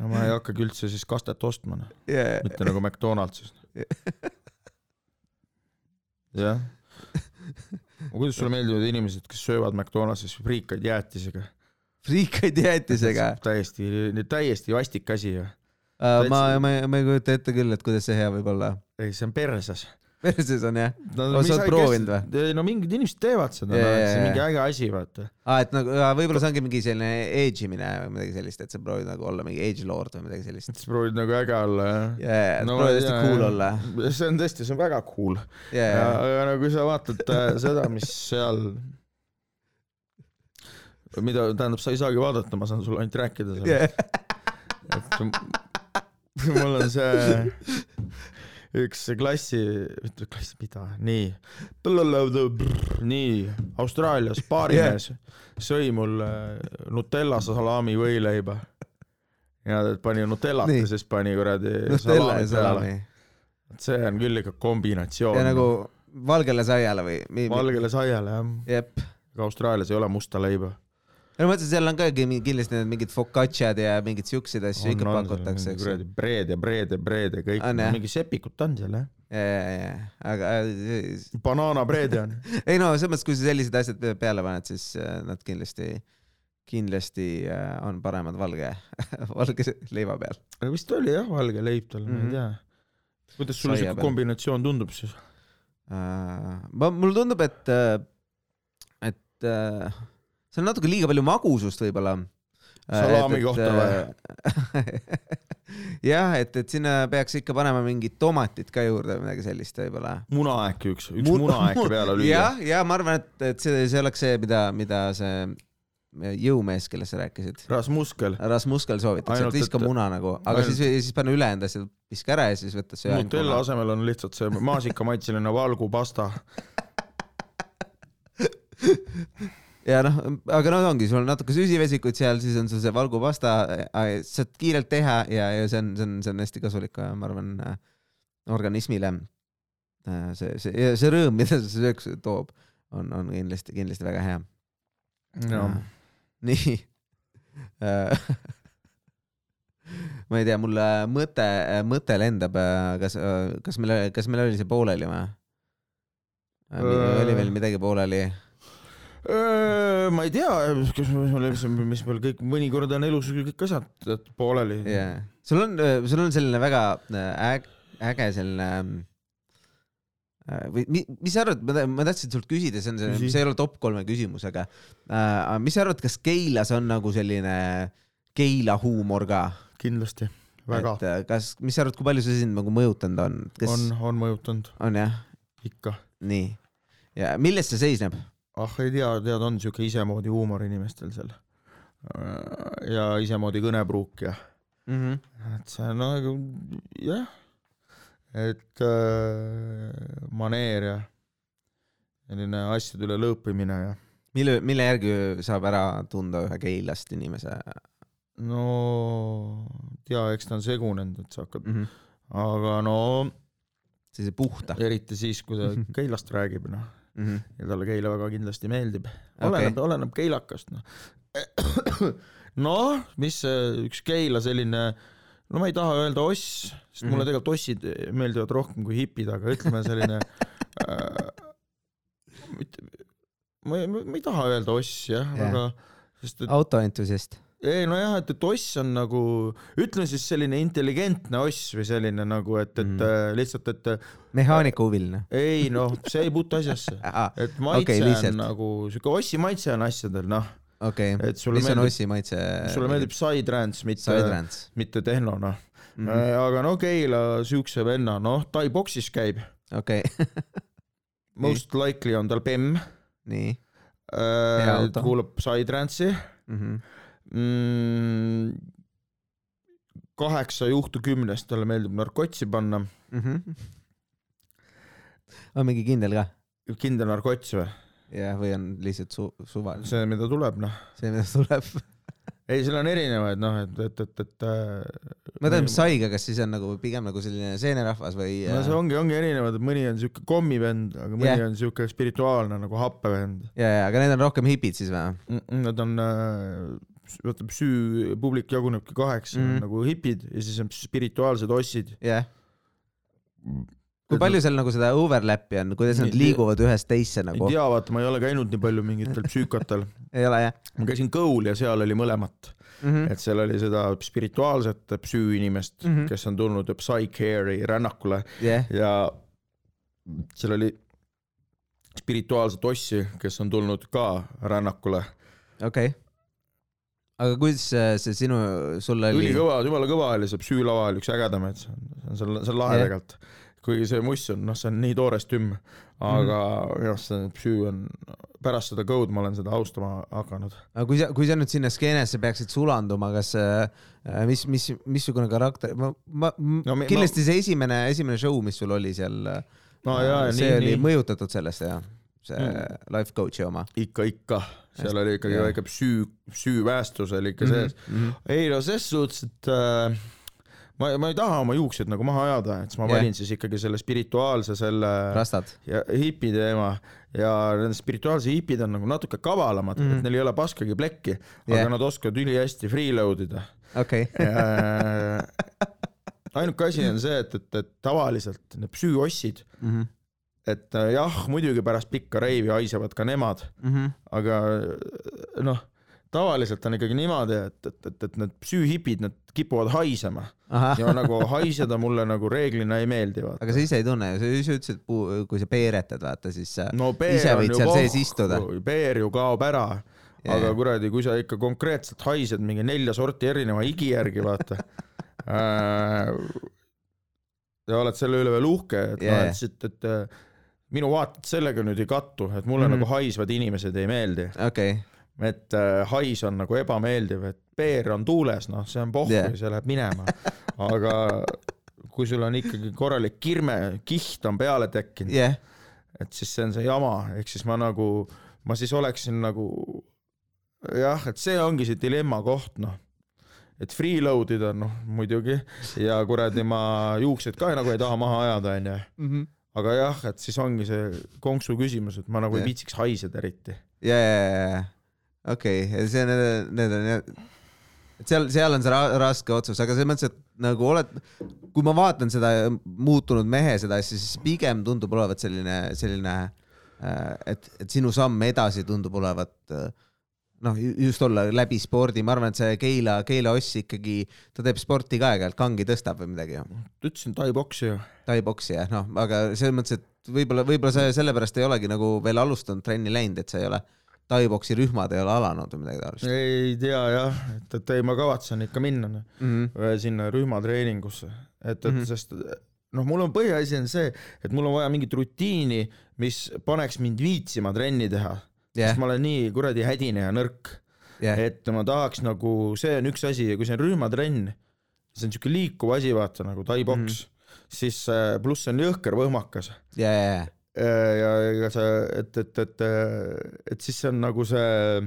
Speaker 2: no ma ei hakkagi üldse siis kastet ostma , noh ,
Speaker 1: Yeah.
Speaker 2: mitte nagu McDonaldsis . jah . kuidas sulle meeldivad inimesed , kes söövad McDonaldsis friikaid jäätisega ?
Speaker 1: friikaid jäätisega .
Speaker 2: <laughs> täiesti , täiesti vastik asi ju .
Speaker 1: ma , ma , ma ei kujuta ette küll , et kuidas see hea võib olla . <laughs>
Speaker 2: ei , see on perses .
Speaker 1: perses on jah .
Speaker 2: no,
Speaker 1: Aga sa oled proovinud
Speaker 2: või ? no mingid inimesed teevad seda
Speaker 1: Jaa,
Speaker 2: yeah, , see on
Speaker 1: jaa,
Speaker 2: mingi
Speaker 1: jaa.
Speaker 2: äge asi , vaata .
Speaker 1: aa , et nagu aa, võib-olla see ongi mingi selline age imine või midagi sellist , et sa proovid nagu olla mingi age lord või midagi sellist .
Speaker 2: et sa proovid nagu äge olla , jah .
Speaker 1: jaa , et
Speaker 2: No
Speaker 1: proovid hästi
Speaker 2: jaa,
Speaker 1: cool
Speaker 2: jaa.
Speaker 1: olla .
Speaker 2: see on tõesti , see on väga cool .
Speaker 1: jaa ,
Speaker 2: aga no kui sa vaatad äh, seda , mis seal , mida , tähendab , sa ei saagi vaadata , ma saan sulle ainult rääkida sellest
Speaker 1: jaa .
Speaker 2: et m- mul on see üks klassi , mitte klass , mida , nii , nii , Austraalias baarimees sõi mulle Nutella salami võileiba . ja ta pani Nutellat
Speaker 1: Nii.
Speaker 2: ja siis pani kuradi
Speaker 1: Nutella
Speaker 2: salami
Speaker 1: ja
Speaker 2: peale .
Speaker 1: salami .
Speaker 2: see on küll ikka
Speaker 1: ja
Speaker 2: kombinatsioon .
Speaker 1: nagu valgele saiale või mi- mi-
Speaker 2: valgele saiale jah ,
Speaker 1: jep .
Speaker 2: ega Austraalias ei ole musta leiba .
Speaker 1: no ma mõtlesin , seal on ka mingi- kindlasti need mingid focacciad ja mingid siukseid asju ikka pakutakse , eks ju .
Speaker 2: kuradi breed ja breed ja breed ja kõik
Speaker 1: On, , jah?
Speaker 2: mingi sepikut on seal jah ,
Speaker 1: ja , ja , ja , aga äh,
Speaker 2: banaanabreed
Speaker 1: <laughs>
Speaker 2: on
Speaker 1: ei no selles mõttes , kui sa sellised asjad peale paned , siis äh, nad kindlasti , kindlasti äh, on paremad valge , <laughs> valge leiva peal .
Speaker 2: aga vist oli jah , valge leib tal
Speaker 1: Mhm.
Speaker 2: mm , -hmm. ma ei tea . kuidas sulle
Speaker 1: Saia
Speaker 2: siuke
Speaker 1: peal.
Speaker 2: kombinatsioon tundub siis ?
Speaker 1: ma , Äh, mulle tundub , et , et äh, seal on natuke liiga palju magusust võib-olla . Äh,
Speaker 2: Salami kohta
Speaker 1: või ? <laughs> jah , et , et sinna peaks ikka panema mingit tomatit ka juurde või midagi sellist võib-olla .
Speaker 2: munaaäkki üks , üks munaaäkki peale lüüa .
Speaker 1: jah , ja ma arvan , et , et see , see oleks see , mida , mida see jõumees , kellest sa rääkisid ,
Speaker 2: rasmuskel ,
Speaker 1: Rasmuskel soovitas , et
Speaker 2: Ainult,
Speaker 1: viska
Speaker 2: et-
Speaker 1: muna nagu , aga
Speaker 2: ainult-
Speaker 1: ainult... siis , siis pane ülejäänud asjad , viska ära ja siis võta see .
Speaker 2: Nutella asemel on lihtsalt see maasikamaitseline valgupasta .
Speaker 1: ja noh , aga no ongi , sul on natuke süsivesikuid seal , siis on sul see valgupasta , äh, saad kiirelt teha ja , ja see on , see on , see on hästi kasulik , ma arvan , organismile . see , see , see rõõm , <laughs> mida see sööks toob , on , on kindlasti , kindlasti väga hea . nii Äh, <laughs> ma ei tea , mul äh, mõte , mõte lendab , kas , kas meil , kas meil oli see pooleli või ?
Speaker 2: Äh.
Speaker 1: oli veel midagi pooleli ?
Speaker 2: ma ei tea , kas mul , mis meil kõik , mõnikord on elus kõik asjad pooleli .
Speaker 1: jaa , sul on , sul on selline väga äge , äge selline ähm, äh, või mi, mis sa arvad , ma ta- ma tahtsin sult küsida , see on see ,
Speaker 2: Küsi.
Speaker 1: see ei ole top kolme küsimus , aga äh, mis sa arvad , kas Keilas on nagu selline Keila huumor ka ?
Speaker 2: kindlasti , väga .
Speaker 1: et äh, kas , mis sa arvad , kui palju see sind nagu mõjutanud on ? kas
Speaker 2: on , on mõjutanud ,
Speaker 1: on jah ,
Speaker 2: ikka .
Speaker 1: nii . ja milles see seisneb ?
Speaker 2: ah ei tea , tead , on siuke isemoodi huumor inimestel seal . ja isemoodi kõnepruuk ja Mhm.
Speaker 1: Mm -hmm.
Speaker 2: et see on nagu jah , et äh, maneer ja selline asjade üle lõõpimine ja
Speaker 1: mille , mille järgi saab ära tunda ühe Keilast inimese
Speaker 2: no tea , eks ta on segunenud , et sa hakkad ,
Speaker 1: mm ? -hmm.
Speaker 2: aga no
Speaker 1: sellise puhta
Speaker 2: eriti siis , kui ta Keilast räägib , noh ,
Speaker 1: mm . -hmm.
Speaker 2: ja talle Keila väga kindlasti meeldib . oleneb okay. , oleneb keilakast , noh . <coughs> noh , mis see üks Keila selline , no ma ei taha öelda oss , sest mulle
Speaker 1: Mhm.
Speaker 2: tegelikult ossid meeldivad rohkem kui hipid , aga ütleme selline äh, . ma ei , ma ei taha öelda oss jah
Speaker 1: Jah.
Speaker 2: yeah. , aga sest et
Speaker 1: autoentusiast .
Speaker 2: ei nojah , et , et oss on nagu , ütleme siis selline intelligentne oss või selline nagu , et , et
Speaker 1: Mhm.
Speaker 2: mm. lihtsalt , et
Speaker 1: mehaaniku huviline .
Speaker 2: ei noh , see ei puutu asjasse et maitse
Speaker 1: Okei,
Speaker 2: okay,
Speaker 1: lihtsalt.
Speaker 2: on nagu siuke ossi maitse on asjadel noh ,
Speaker 1: okei ,
Speaker 2: et sulle
Speaker 1: mis on
Speaker 2: meeldib ,
Speaker 1: Ossi äh, maitse ?
Speaker 2: sulle meeldib äh, sidetrans , mitte ,
Speaker 1: Sidetrans .
Speaker 2: mitte tehno noh
Speaker 1: Mhm.
Speaker 2: mm -hmm. . aga no Keila siukse venna noh , ta ei boksis käib ,
Speaker 1: okei , <laughs>
Speaker 2: most Nii. likely on tal bemm
Speaker 1: nii . Hea
Speaker 2: äh,
Speaker 1: auto. ,
Speaker 2: kuulab sidetransi
Speaker 1: Mhm.
Speaker 2: mm, . kaheksa juhtu kümnest talle meeldib narkotsi panna ,
Speaker 1: Mhm. on mingi kindel ka ?
Speaker 2: kindel narkots või ,
Speaker 1: jah , või on lihtsalt su- , suva ,
Speaker 2: see , mida tuleb noh ,
Speaker 1: see , mis tuleb .
Speaker 2: ei , seal on erinevaid noh , et , et , et , et äh,
Speaker 1: ma tean , mis saiga , kas siis on nagu pigem nagu selline seenerahvas või ? äh,
Speaker 2: no see ongi , ongi erinevad , et mõni on siuke kommivend , aga mõni
Speaker 1: Jah.
Speaker 2: yeah. on siuke spirituaalne nagu happevend .
Speaker 1: ja , ja , aga need on rohkem hipid siis või ?
Speaker 2: Nad on , vaata psüü publik jagunebki kaheks mm ,
Speaker 1: Mhm.
Speaker 2: -hmm. nagu hipid ja siis on spirituaalsed ossid
Speaker 1: jah , kui palju seal nagu seda overlap'i on , kuidas nad
Speaker 2: Ei tea.
Speaker 1: liiguvad ühest teisse
Speaker 2: ei
Speaker 1: nagu ?
Speaker 2: tea , vaata , ma ei ole käinud nii palju mingitel psüükatel ,
Speaker 1: ei ole jah
Speaker 2: ma käisin Kõul ja seal oli mõlemat ,
Speaker 1: mm ?
Speaker 2: et seal oli seda spirituaalset psüüinimest mm ,
Speaker 1: Mhm.
Speaker 2: -hmm. kes on tulnud Psycare'i rännakule
Speaker 1: jah ,
Speaker 2: ja seal oli spirituaalset ossi , kes on tulnud ka rännakule .
Speaker 1: okei . aga kuidas see see sinu , sul oli ?
Speaker 2: ülikõva , jumala kõva oli see psüülava oli üks ägedamaid , see on , see on , see on lahe
Speaker 1: Jah.
Speaker 2: tegelikult . kuigi see muss on , noh , see on nii toores tümm , aga
Speaker 1: Mhm.
Speaker 2: minu arust see psüü on , pärast seda Code ma olen seda austama hakanud .
Speaker 1: aga kui sa , kui sa nüüd sinna skeenesse peaksid sulanduma , kas , mis , mis , missugune karakter , ma , ma no,
Speaker 2: No , me-
Speaker 1: kindlasti ma... see esimene , esimene show , mis sul oli seal äh,
Speaker 2: no jaa ,
Speaker 1: see
Speaker 2: nii ,
Speaker 1: oli
Speaker 2: nii ,
Speaker 1: mõjutatud sellest jah , see
Speaker 2: Mm.
Speaker 1: mm. life coach'i oma .
Speaker 2: ikka , ikka , seal oli ikkagi
Speaker 1: Jah. Mhm,
Speaker 2: väike psüü , psüüväestus oli ikka sees . ei no ses suhtes , et äh, ma , ma ei taha oma juuksed nagu maha ajada , et siis ma
Speaker 1: Jah.
Speaker 2: valin siis ikkagi selle spirituaalse selle
Speaker 1: rastad ,
Speaker 2: ja hipi teema ja need spirituaalsed hipid on nagu natuke kavalamad mm , -hmm. et neil ei ole paskagi plekki , aga
Speaker 1: Mhm. Jah.
Speaker 2: nad oskavad ülihästi freeload ida .
Speaker 1: okei okay. , <laughs>
Speaker 2: ainuke asi on see , et , et , et tavaliselt need psüüossid ,
Speaker 1: mm -hmm.
Speaker 2: et äh, jah , muidugi pärast pikka reivi haisevad ka nemad ,
Speaker 1: mm -hmm.
Speaker 2: aga noh , tavaliselt on ikkagi niimoodi , et , et , et , et need psüühipid , nad kipuvad haisema
Speaker 1: ahah , <laughs>
Speaker 2: ja nagu haiseda mulle nagu reeglina ei meeldi , vaata .
Speaker 1: aga sa ise ei tunne ju , sa ise ütlesid , kui sa peeretad , vaata siis sa...
Speaker 2: no
Speaker 1: ise
Speaker 2: peer on
Speaker 1: võid
Speaker 2: ju
Speaker 1: seal sees istuda.
Speaker 2: pohku , peer ju kaob ära
Speaker 1: Jaa,
Speaker 2: aga
Speaker 1: jaa.
Speaker 2: kuradi , kui sa ikka konkreetselt haised mingi nelja sorti erineva higi järgi , vaata Äh, ja oled selle üle veel uhke , et
Speaker 1: Jaa,
Speaker 2: noh ,
Speaker 1: jaa.
Speaker 2: et siit , et äh, minu vaated sellega nüüd ei kattu , et mulle
Speaker 1: Mhm.
Speaker 2: mm. nagu haisvad inimesed ei meeldi ,
Speaker 1: okei okay. ,
Speaker 2: et äh, hais on nagu ebameeldiv , et peer on tuules , noh , see on pohhu
Speaker 1: Jaa.
Speaker 2: yeah. , see läheb minema , aga kui sul on ikkagi korralik kirme , kiht on peale tekkinud ,
Speaker 1: jah ,
Speaker 2: et siis see on see jama , ehk siis ma nagu , ma siis oleksin nagu jah , et see ongi see dilemma koht , noh . et freeload ida , noh muidugi ja kuradi ma juuksed ka nagu ei taha maha ajada , onju . aga jah , et siis ongi see konksu küsimus , et ma nagu ei
Speaker 1: Jah.
Speaker 2: viitsiks haiseda eriti .
Speaker 1: ja , ja , ja , ja , okei okay. , see , need , need on jah , et seal , seal on see ra raske otsus , aga selles mõttes , et nagu oled , kui ma vaatan seda muutunud mehe seda asja , siis pigem tundub olevat selline , selline , et , et sinu samm edasi tundub olevat äh, noh , just olla läbi spordi , ma arvan , et see Keila , Keila Oss ikkagi , ta teeb sporti ka aeg-ajalt , kangi tõstab või midagi ju .
Speaker 2: ütlesin tai-boksi ju .
Speaker 1: Tai-boksi jah , noh , aga selles mõttes , et võib-olla , võib-olla sa sellepärast ei olegi nagu veel alustanud trenni läinud , et sa ei ole , tai-boksi rühmad ei ole alanud või midagi taolist
Speaker 2: ei tea jah , et , et ei , ma kavatsen ikka minna noh.
Speaker 1: mm . -hmm.
Speaker 2: sinna rühmatreeningusse , et , et mm
Speaker 1: Mhm.
Speaker 2: -hmm. sest noh , mul on põhiasi on see , et mul on vaja mingit rutiini , mis paneks mind viitsima trenni teha yeah. ,
Speaker 1: jah
Speaker 2: sest , ma olen nii kuradi hädine ja nõrk ,
Speaker 1: jah ,
Speaker 2: et ma tahaks nagu , see on üks asi ja kui see on rühmatrenn , see on siuke liikuv asi , vaata nagu tai-boks
Speaker 1: Mhm.
Speaker 2: mm , -hmm. siis äh, pluss see on jõhker võhmakas
Speaker 1: ja , ja , ja ,
Speaker 2: ja , Äh, ja ega see , et , et , et , et siis see on nagu see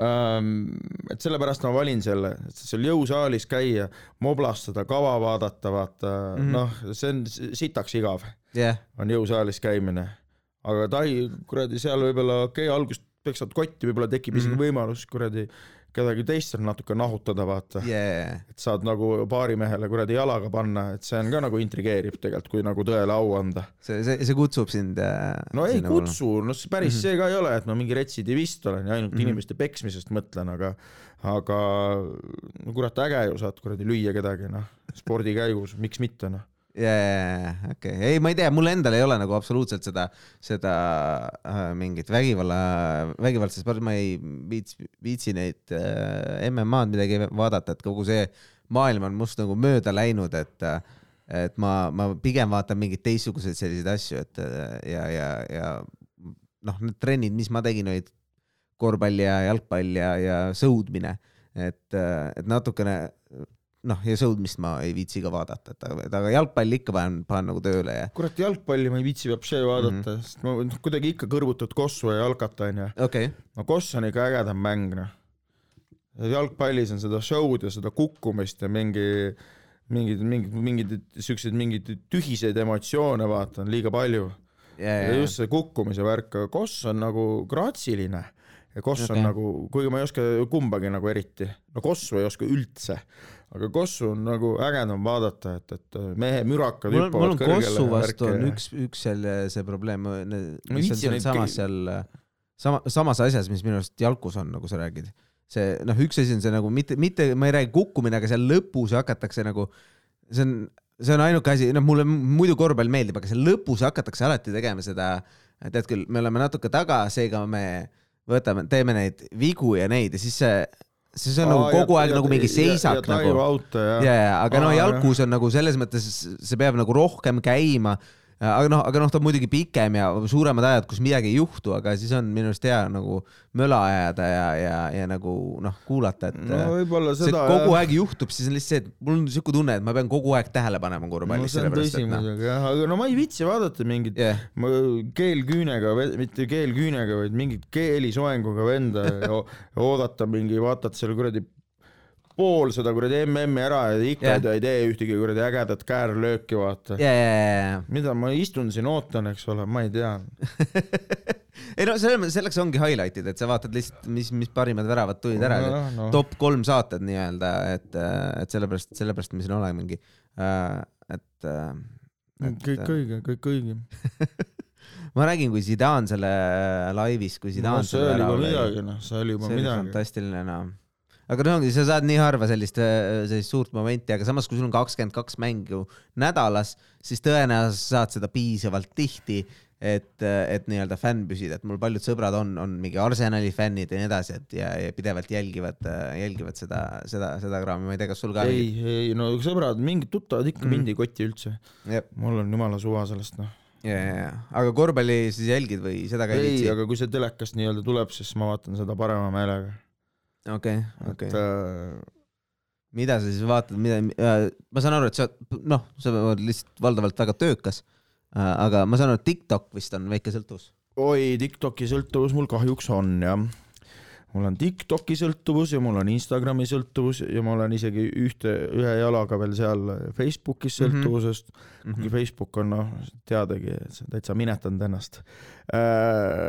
Speaker 2: ähm, , et sellepärast ma valin selle , seal jõusaalis käia , moblastada , kava vaadata , vaata
Speaker 1: Mhm.
Speaker 2: mm. , noh , see on s- sitaks igav ,
Speaker 1: jah ,
Speaker 2: on jõusaalis käimine . aga Tai , kuradi , seal võib-olla okei okay, , alguses peksad kotti , võib-olla tekib isegi
Speaker 1: Mhm.
Speaker 2: mm. võimalus kuradi kedagi teist seal natuke nahutada , vaata
Speaker 1: ja , ja ,
Speaker 2: et saad nagu baarimehele kuradi jalaga panna , et see on ka nagu intrigeeriv tegelikult , kui nagu tõele au anda .
Speaker 1: see , see , see kutsub sind . äh,
Speaker 2: no ei .
Speaker 1: nagu-
Speaker 2: kutsu , no see päris mm -hmm. see ka ei ole , et ma mingi retsidivist olen ja ainult mm
Speaker 1: Mhm.
Speaker 2: -hmm. inimeste peksmisest mõtlen , aga , aga no kurat , äge ju saad kuradi lüüa kedagi noh , spordi käigus , miks mitte noh .
Speaker 1: ja , ja , ja , okei okay. , ei , ma ei tea , mul endal ei ole nagu absoluutselt seda , seda äh, mingit vägivalla , vägivaldse spordi , ma ei viits- , viitsi neid äh, MM-ad midagi vaadata , et kogu see maailm on must nagu mööda läinud , et äh, et ma , ma pigem vaatan mingeid teistsuguseid selliseid asju , et äh, ja , ja , ja noh , need trennid , mis ma tegin , olid korvpall ja jalgpall ja , ja sõudmine , et , et natukene noh , ja sõudmist ma ei viitsi ka vaadata , et aga, et aga jalgpalli ikka panen , panen nagu tööle ja
Speaker 2: kurat , jalgpalli ma ei viitsi vapšee vaadata mm , -hmm. sest ma noh, kuidagi ikka kõrvutad Kossu ja jalkat onju .
Speaker 1: okei okay. ,
Speaker 2: no Koss on ikka ägedam mäng noh . jalgpallis on seda show'd ja seda kukkumist ja mingi mingid , mingid , mingid siuksed , mingid tühiseid emotsioone vaata on liiga palju
Speaker 1: ja ,
Speaker 2: ja
Speaker 1: ja ,
Speaker 2: just see kukkumise värk , aga Koss on nagu graatsiline ja Koss on
Speaker 1: Okei.
Speaker 2: nagu , kuigi ma ei oska kumbagi nagu eriti , no Kossu ei oska üldse , aga Kossu on nagu ägedam vaadata , et , et mehe mürakad
Speaker 1: mul on , mul on Kossu vastu
Speaker 2: ja värki
Speaker 1: on
Speaker 2: ja-
Speaker 1: üks , üks selle , see probleem ,
Speaker 2: ei
Speaker 1: mis on
Speaker 2: viitsi neid
Speaker 1: sealsamas
Speaker 2: kõ-
Speaker 1: seal , sama , samas asjas , mis minu arust jalkus on , nagu sa räägid . see noh , üks asi on see nagu mitte , mitte , ma ei räägi kukkumine , aga seal lõpus hakatakse nagu , see on , see on ainuke asi , noh , mulle muidu korvpall meeldib , aga seal lõpus hakatakse alati tegema seda , tead küll , me oleme natuke taga , seega me võtame , teeme neid vigu ja neid ja siis see , siis see on
Speaker 2: Aa,
Speaker 1: nagu
Speaker 2: ja-
Speaker 1: kogu aeg
Speaker 2: ja-
Speaker 1: nagu mingi
Speaker 2: ja-
Speaker 1: seisak
Speaker 2: ja,
Speaker 1: nagu
Speaker 2: ja . auto ja,
Speaker 1: ja , ja , aga no
Speaker 2: Aa, jah.
Speaker 1: jalkus on nagu selles mõttes , see peab nagu rohkem käima . aga noh , aga noh , ta on muidugi pikem ja suuremad ajad , kus midagi ei juhtu , aga siis on minu arust hea nagu möla ajada ja , ja , ja nagu noh , kuulata , et
Speaker 2: no võib-olla
Speaker 1: see
Speaker 2: seda
Speaker 1: kogu
Speaker 2: jah.
Speaker 1: aeg juhtub , siis on lihtsalt see , et mul on siuke tunne , et ma pean kogu aeg tähele panema
Speaker 2: no
Speaker 1: korvpallis ,
Speaker 2: see on
Speaker 1: sellepärast
Speaker 2: tõsi
Speaker 1: et noh ,
Speaker 2: muidugi jah , aga no ma ei viitsi vaadata mingit
Speaker 1: jah ,
Speaker 2: ma äh, keelküünega , mitte keelküünega , vaid mingit
Speaker 1: <laughs>
Speaker 2: keelisoenguga venda ja o- ja oodata mingi , vaatad selle kuradi pool seda kuradi MM-i ära ja ikka
Speaker 1: Jah.
Speaker 2: ta ei tee ühtegi kuradi ägedat käärlööki , vaata .
Speaker 1: ja , ja , ja , ja
Speaker 2: mida ma istun siin , ootan , eks ole , ma ei tea .
Speaker 1: ei no selles mõttes , selleks ongi highlight'id , et sa vaatad lihtsalt , mis , mis parimad väravad tulid ära no, ,
Speaker 2: Nojah,
Speaker 1: no.
Speaker 2: noh.
Speaker 1: top kolm saated nii-öelda , et , et sellepärast , sellepärast me siin olemegi . et ,
Speaker 2: kõik
Speaker 1: et äh,
Speaker 2: õige , kõik õige .
Speaker 1: ma räägin , kui Zidane selle äh, laivis , kui
Speaker 2: no
Speaker 1: Zidane
Speaker 2: see
Speaker 1: selle
Speaker 2: oli
Speaker 1: ära
Speaker 2: juba
Speaker 1: oli ,
Speaker 2: midagi , noh , see oli juba
Speaker 1: see oli
Speaker 2: midagi .
Speaker 1: fantastiline noh aga no ongi , sa saad nii harva sellist , sellist suurt momenti , aga samas , kui sul on kakskümmend kaks mängu nädalas , siis tõenäoliselt saad seda piisavalt tihti , et , et nii-öelda fänn püsida , et mul paljud sõbrad on , on mingi Arsenali fännid ja nii edasi , et ja, ja pidevalt jälgivad , jälgivad seda , seda , seda kraami , ma ei tea , kas sul ka
Speaker 2: ei , ei no sõbrad , mingid tuttavad ikka
Speaker 1: Mhm.
Speaker 2: mind ei koti üldse .
Speaker 1: Jep.
Speaker 2: mul on jumala suva sellest , noh .
Speaker 1: ja , ja , ja , aga korvpalli siis jälgid või seda ka ei
Speaker 2: ei ,
Speaker 1: viitsi ?
Speaker 2: aga kui see telekast nii-öelda tuleb , siis ma vaatan seda parema meelega .
Speaker 1: okei ,
Speaker 2: et
Speaker 1: okei .
Speaker 2: äh,
Speaker 1: mida sa siis vaatad , mida , ma saan aru , et sa , noh , sa oled lihtsalt valdavalt väga töökas , aga ma saan aru , et TikTok vist on väike sõltuvus .
Speaker 2: oi , Tiktoki sõltuvus mul kahjuks on jah . mul on Tiktoki sõltuvus ja mul on Instagrami sõltuvus ja ma olen isegi ühte , ühe jalaga veel seal Facebookis
Speaker 1: Mhm.
Speaker 2: sõltuvusest mm . -hmm.
Speaker 1: jah ,
Speaker 2: Facebook on noh , teadagi , täitsa minetanud ennast .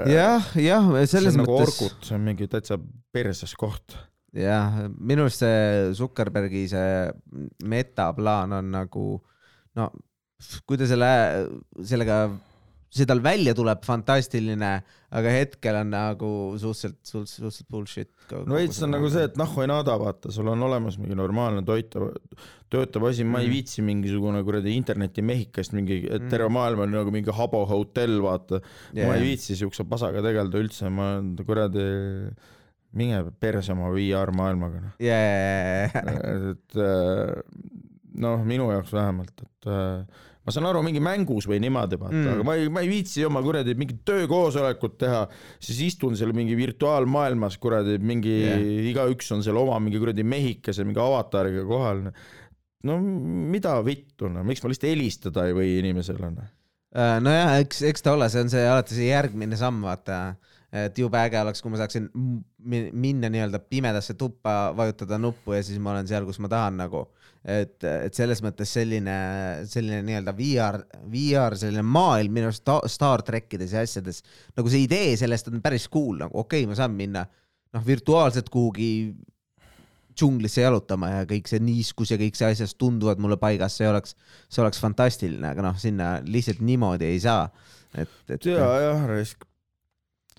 Speaker 1: jah , selles
Speaker 2: see on nagu
Speaker 1: mõttes .
Speaker 2: orkut , see on mingi täitsa perses koht .
Speaker 1: jah , minu arust see Zuckerbergi see metaplaan on nagu no kui ta selle , sellega , see tal välja tuleb , fantastiline , aga hetkel on nagu suhteliselt , suhteliselt , suhteliselt bullshit .
Speaker 2: no veits on nagu see , et nahhu ei naada , vaata , sul on olemas mingi normaalne toitav , töötav asi , ma ei
Speaker 1: Mhm.
Speaker 2: viitsi mingisugune kuradi interneti mehikest mingi , et
Speaker 1: Mhm.
Speaker 2: terve maailm on nagu mingi habo hotell , vaata . yeah. . ma ei
Speaker 1: viitsi .
Speaker 2: viitsi siukse pasaga tegeleda üldse , ma olen kuradi , mine perse oma VR maailmaga noh .
Speaker 1: ja , <laughs> ja , ja ,
Speaker 2: et äh, noh , minu jaoks vähemalt , et äh, ma saan aru , mingi mängus või niimoodi vaata
Speaker 1: Mm.
Speaker 2: mm. , aga ma ei , ma ei viitsi oma kuradi mingit töökoosolekut teha , siis istun seal mingi virtuaalmaailmas kuradi mingi yeah.
Speaker 1: Jah. ,
Speaker 2: igaüks on seal oma mingi kuradi mehikese mingi avatariga kohal . no mida vittu noh , miks ma lihtsalt helistada ei või inimesele noh .
Speaker 1: ja . nojah , Äh, eks , eks ta ole , see on see alati see järgmine samm , vaata et jube äge oleks , kui ma saaksin m- mi- minna nii-öelda pimedasse tuppa , vajutada nuppu ja siis ma olen seal , kus ma tahan nagu . et , et selles mõttes selline , selline nii-öelda VR , VR selline maailm minu arust ta- Star trackides ja asjades , nagu see idee sellest on päris cool , nagu okei okay, , ma saan minna noh , virtuaalselt kuhugi džunglisse jalutama ja kõik see niiskus ja kõik see asjad tunduvad mulle paigas , see oleks , see oleks fantastiline , aga noh , sinna lihtsalt niimoodi ei saa . et , et
Speaker 2: ja , jah , raisk .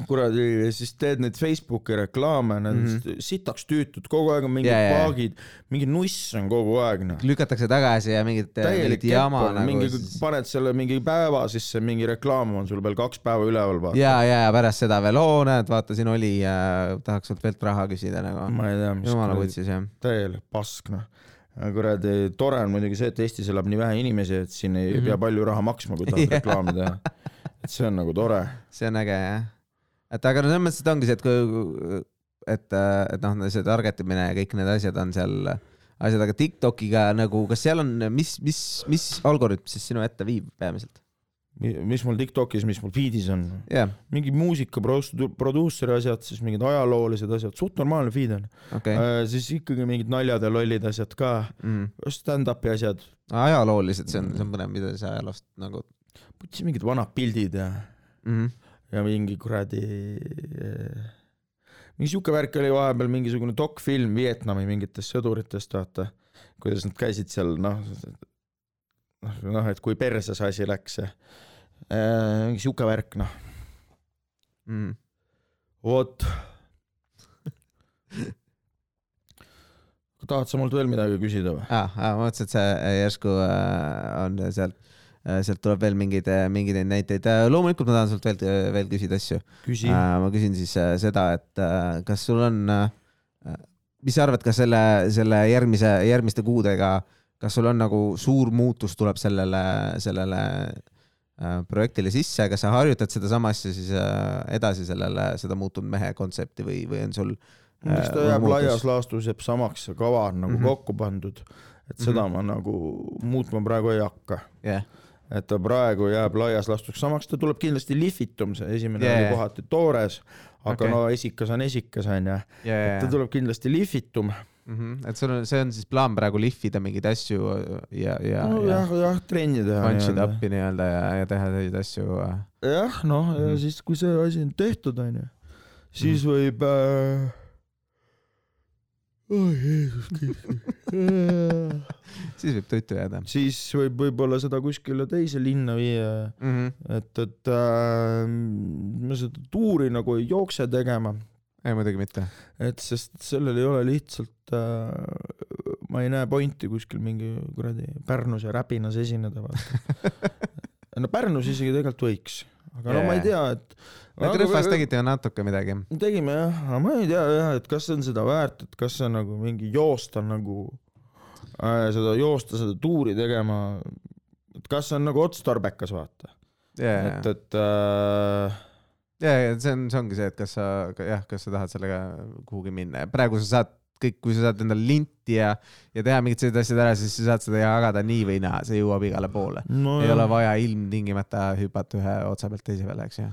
Speaker 2: kuradi , siis teed neid Facebooki reklaame , need mm
Speaker 1: Mhm.
Speaker 2: -hmm. sitaks tüütud , kogu aeg on mingid
Speaker 1: Ja,
Speaker 2: yeah,
Speaker 1: ja, ja.
Speaker 2: paagid , mingi nuss on kogu aeg noh .
Speaker 1: lükatakse tagasi ja mingit ,
Speaker 2: täielik
Speaker 1: mingit
Speaker 2: kepp
Speaker 1: jama
Speaker 2: on nagu, ,
Speaker 1: nagu
Speaker 2: mingi . paned selle mingi päeva sisse , mingi reklaam on sul veel kaks päeva üleval vaata
Speaker 1: ja , ja , ja pärast seda veel , oo näed , vaata siin oli ja tahaks sult veel raha küsida nagu .
Speaker 2: ma ei tea , mis
Speaker 1: jumala
Speaker 2: kuradi
Speaker 1: kutsis jah .
Speaker 2: täielik pask noh . kuradi tore on muidugi see , et Eestis elab nii vähe inimesi , et siin ei mm
Speaker 1: Mhm.
Speaker 2: -hmm. pea palju raha maksma , kui tahad
Speaker 1: <laughs> Jah.
Speaker 2: yeah. reklaami teha . et see on nagu tore .
Speaker 1: see on äge jah . et aga no selles mõttes , et ongi see , et kui , et , et noh , see target imine ja kõik need asjad on seal asjad , aga Tiktokiga nagu , kas seal on , mis , mis , mis algoritm siis sinu ette viib peamiselt ?
Speaker 2: mis mul Tiktokis , mis mul feed'is on
Speaker 1: jah ,
Speaker 2: mingi muusika produ- produusseri asjad , siis mingid ajaloolised asjad , suht normaalne feed on
Speaker 1: okei
Speaker 2: okay. . siis ikkagi mingid naljad ja lollid asjad ka ,
Speaker 1: mm. .
Speaker 2: stand-up'i asjad ,
Speaker 1: ajaloolised , see on , see on põnev , mida sa ajaloost nagu Mhm,
Speaker 2: mõtlesin mingid vanad pildid ja ,
Speaker 1: mm . -hmm.
Speaker 2: ja mingi kuradi . mingi siuke värk oli vahepeal mingisugune dokfilm Vietnami mingitest sõduritest vaata kuidas nad käisid seal noh noh noh et kui perse see asi läks ja Äh, mingi siuke värk noh
Speaker 1: mm. .
Speaker 2: vot tahad sa mult veel midagi küsida või
Speaker 1: ah, . Ah, ma mõtlesin , et see järsku äh, on sealt , sealt tuleb veel mingeid , mingeid neid näiteid . loomulikult ma tahan sult veel , veel küsida asju .
Speaker 2: küsi
Speaker 1: ma küsin siis äh, seda , et äh, kas sul on , mis sa arvad , kas selle , selle järgmise , järgmiste kuudega , kas sul on nagu suur muutus tuleb sellele , sellele äh, projektile sisse , kas sa harjutad sedasama asja siis äh, edasi sellele , seda muutunud mehe kontsepti või , või on sul
Speaker 2: eks ta
Speaker 1: Äh,
Speaker 2: jääb
Speaker 1: muutus.
Speaker 2: laias laastus jääb samaks see kava on nagu mm
Speaker 1: Mhm.
Speaker 2: -hmm. kokku pandud et seda mm -hmm. ma nagu muutma praegu ei hakka
Speaker 1: jah
Speaker 2: et ta praegu jääb laias laastus samaks , ta tuleb kindlasti lihvitum , see esimene yeah.
Speaker 1: Jajah.
Speaker 2: oli kohati toores , aga
Speaker 1: Okei.
Speaker 2: okay. no esikas on esikas onju ,
Speaker 1: ja, , ja ,
Speaker 2: ta tuleb kindlasti lihvitum .
Speaker 1: mm . -hmm. et sul on , see on siis plaan praegu lihvida mingeid asju ja , ja , ja
Speaker 2: jah , jah , trenni teha
Speaker 1: punch it . up'i nii-öelda ja , ja teha selliseid asju . äh,
Speaker 2: jah , noh ja
Speaker 1: Mhm.
Speaker 2: siis , kui see asi on tehtud onju , siis võib äh... . oh Jeesus Kristus .
Speaker 1: siis võib tuttu jääda mm .
Speaker 2: siis võib võib-olla seda kuskile teise linna viia ,
Speaker 1: -hmm.
Speaker 2: et , et äh, ma seda tuuri nagu ei jookse tegema
Speaker 1: ei , muidugi mitte .
Speaker 2: et sest sellel ei ole lihtsalt äh, , ma ei näe pointi kuskil mingi kuradi Pärnus ja Räpinas esineda vaata . no Pärnus isegi tegelikult võiks , aga yeah. no ma ei tea , et .
Speaker 1: no Krõhvas . tegite ju natuke midagi .
Speaker 2: tegime jah , aga ma ei tea jah , et kas see on seda väärt , et kas see on nagu mingi joosta nagu äh, seda joosta seda tuuri tegema , et kas see on nagu otstarbekas vaata ,
Speaker 1: ja ,
Speaker 2: et ,
Speaker 1: ja ,
Speaker 2: et äh,
Speaker 1: ja , ja see on , see ongi see , et kas sa , jah , kas sa tahad sellega kuhugi minna ja praegu sa saad kõik , kui sa saad endale linti ja , ja teha mingid sellised asjad ära , siis sa saad seda jagada nii või naa , see jõuab igale poole .
Speaker 2: no,
Speaker 1: ei ole vaja ilmtingimata hüpata ühe otsa pealt teise peale , eks ju .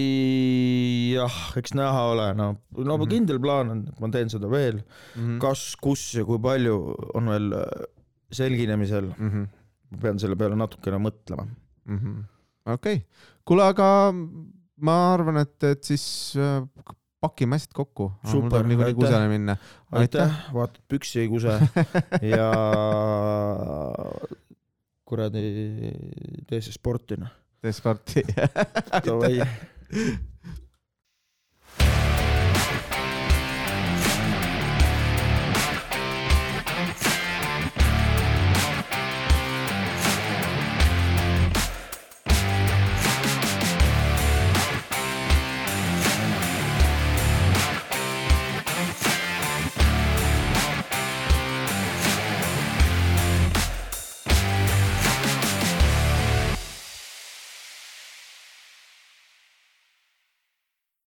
Speaker 2: ei jah , eks näha ole , no , no mm
Speaker 1: Mhm.
Speaker 2: -hmm. kindel plaan on , et ma teen seda veel ,
Speaker 1: Mm-hmm.
Speaker 2: kas , kus ja kui palju on veel äh, selginemisel ,
Speaker 1: mm .
Speaker 2: ma pean selle peale natukene mõtlema .
Speaker 1: -hmm. okei okay. , kuule , aga ma arvan , et , et siis äh, k- pakime asjad kokku . mul
Speaker 2: Super,
Speaker 1: tuleb niikuinii
Speaker 2: aitäh.
Speaker 1: kusagile minna .
Speaker 2: aitäh, aitäh. , vaatad püksi ei kuse ja kuradi tee see sportina .
Speaker 1: tee sporti .
Speaker 2: Davai ,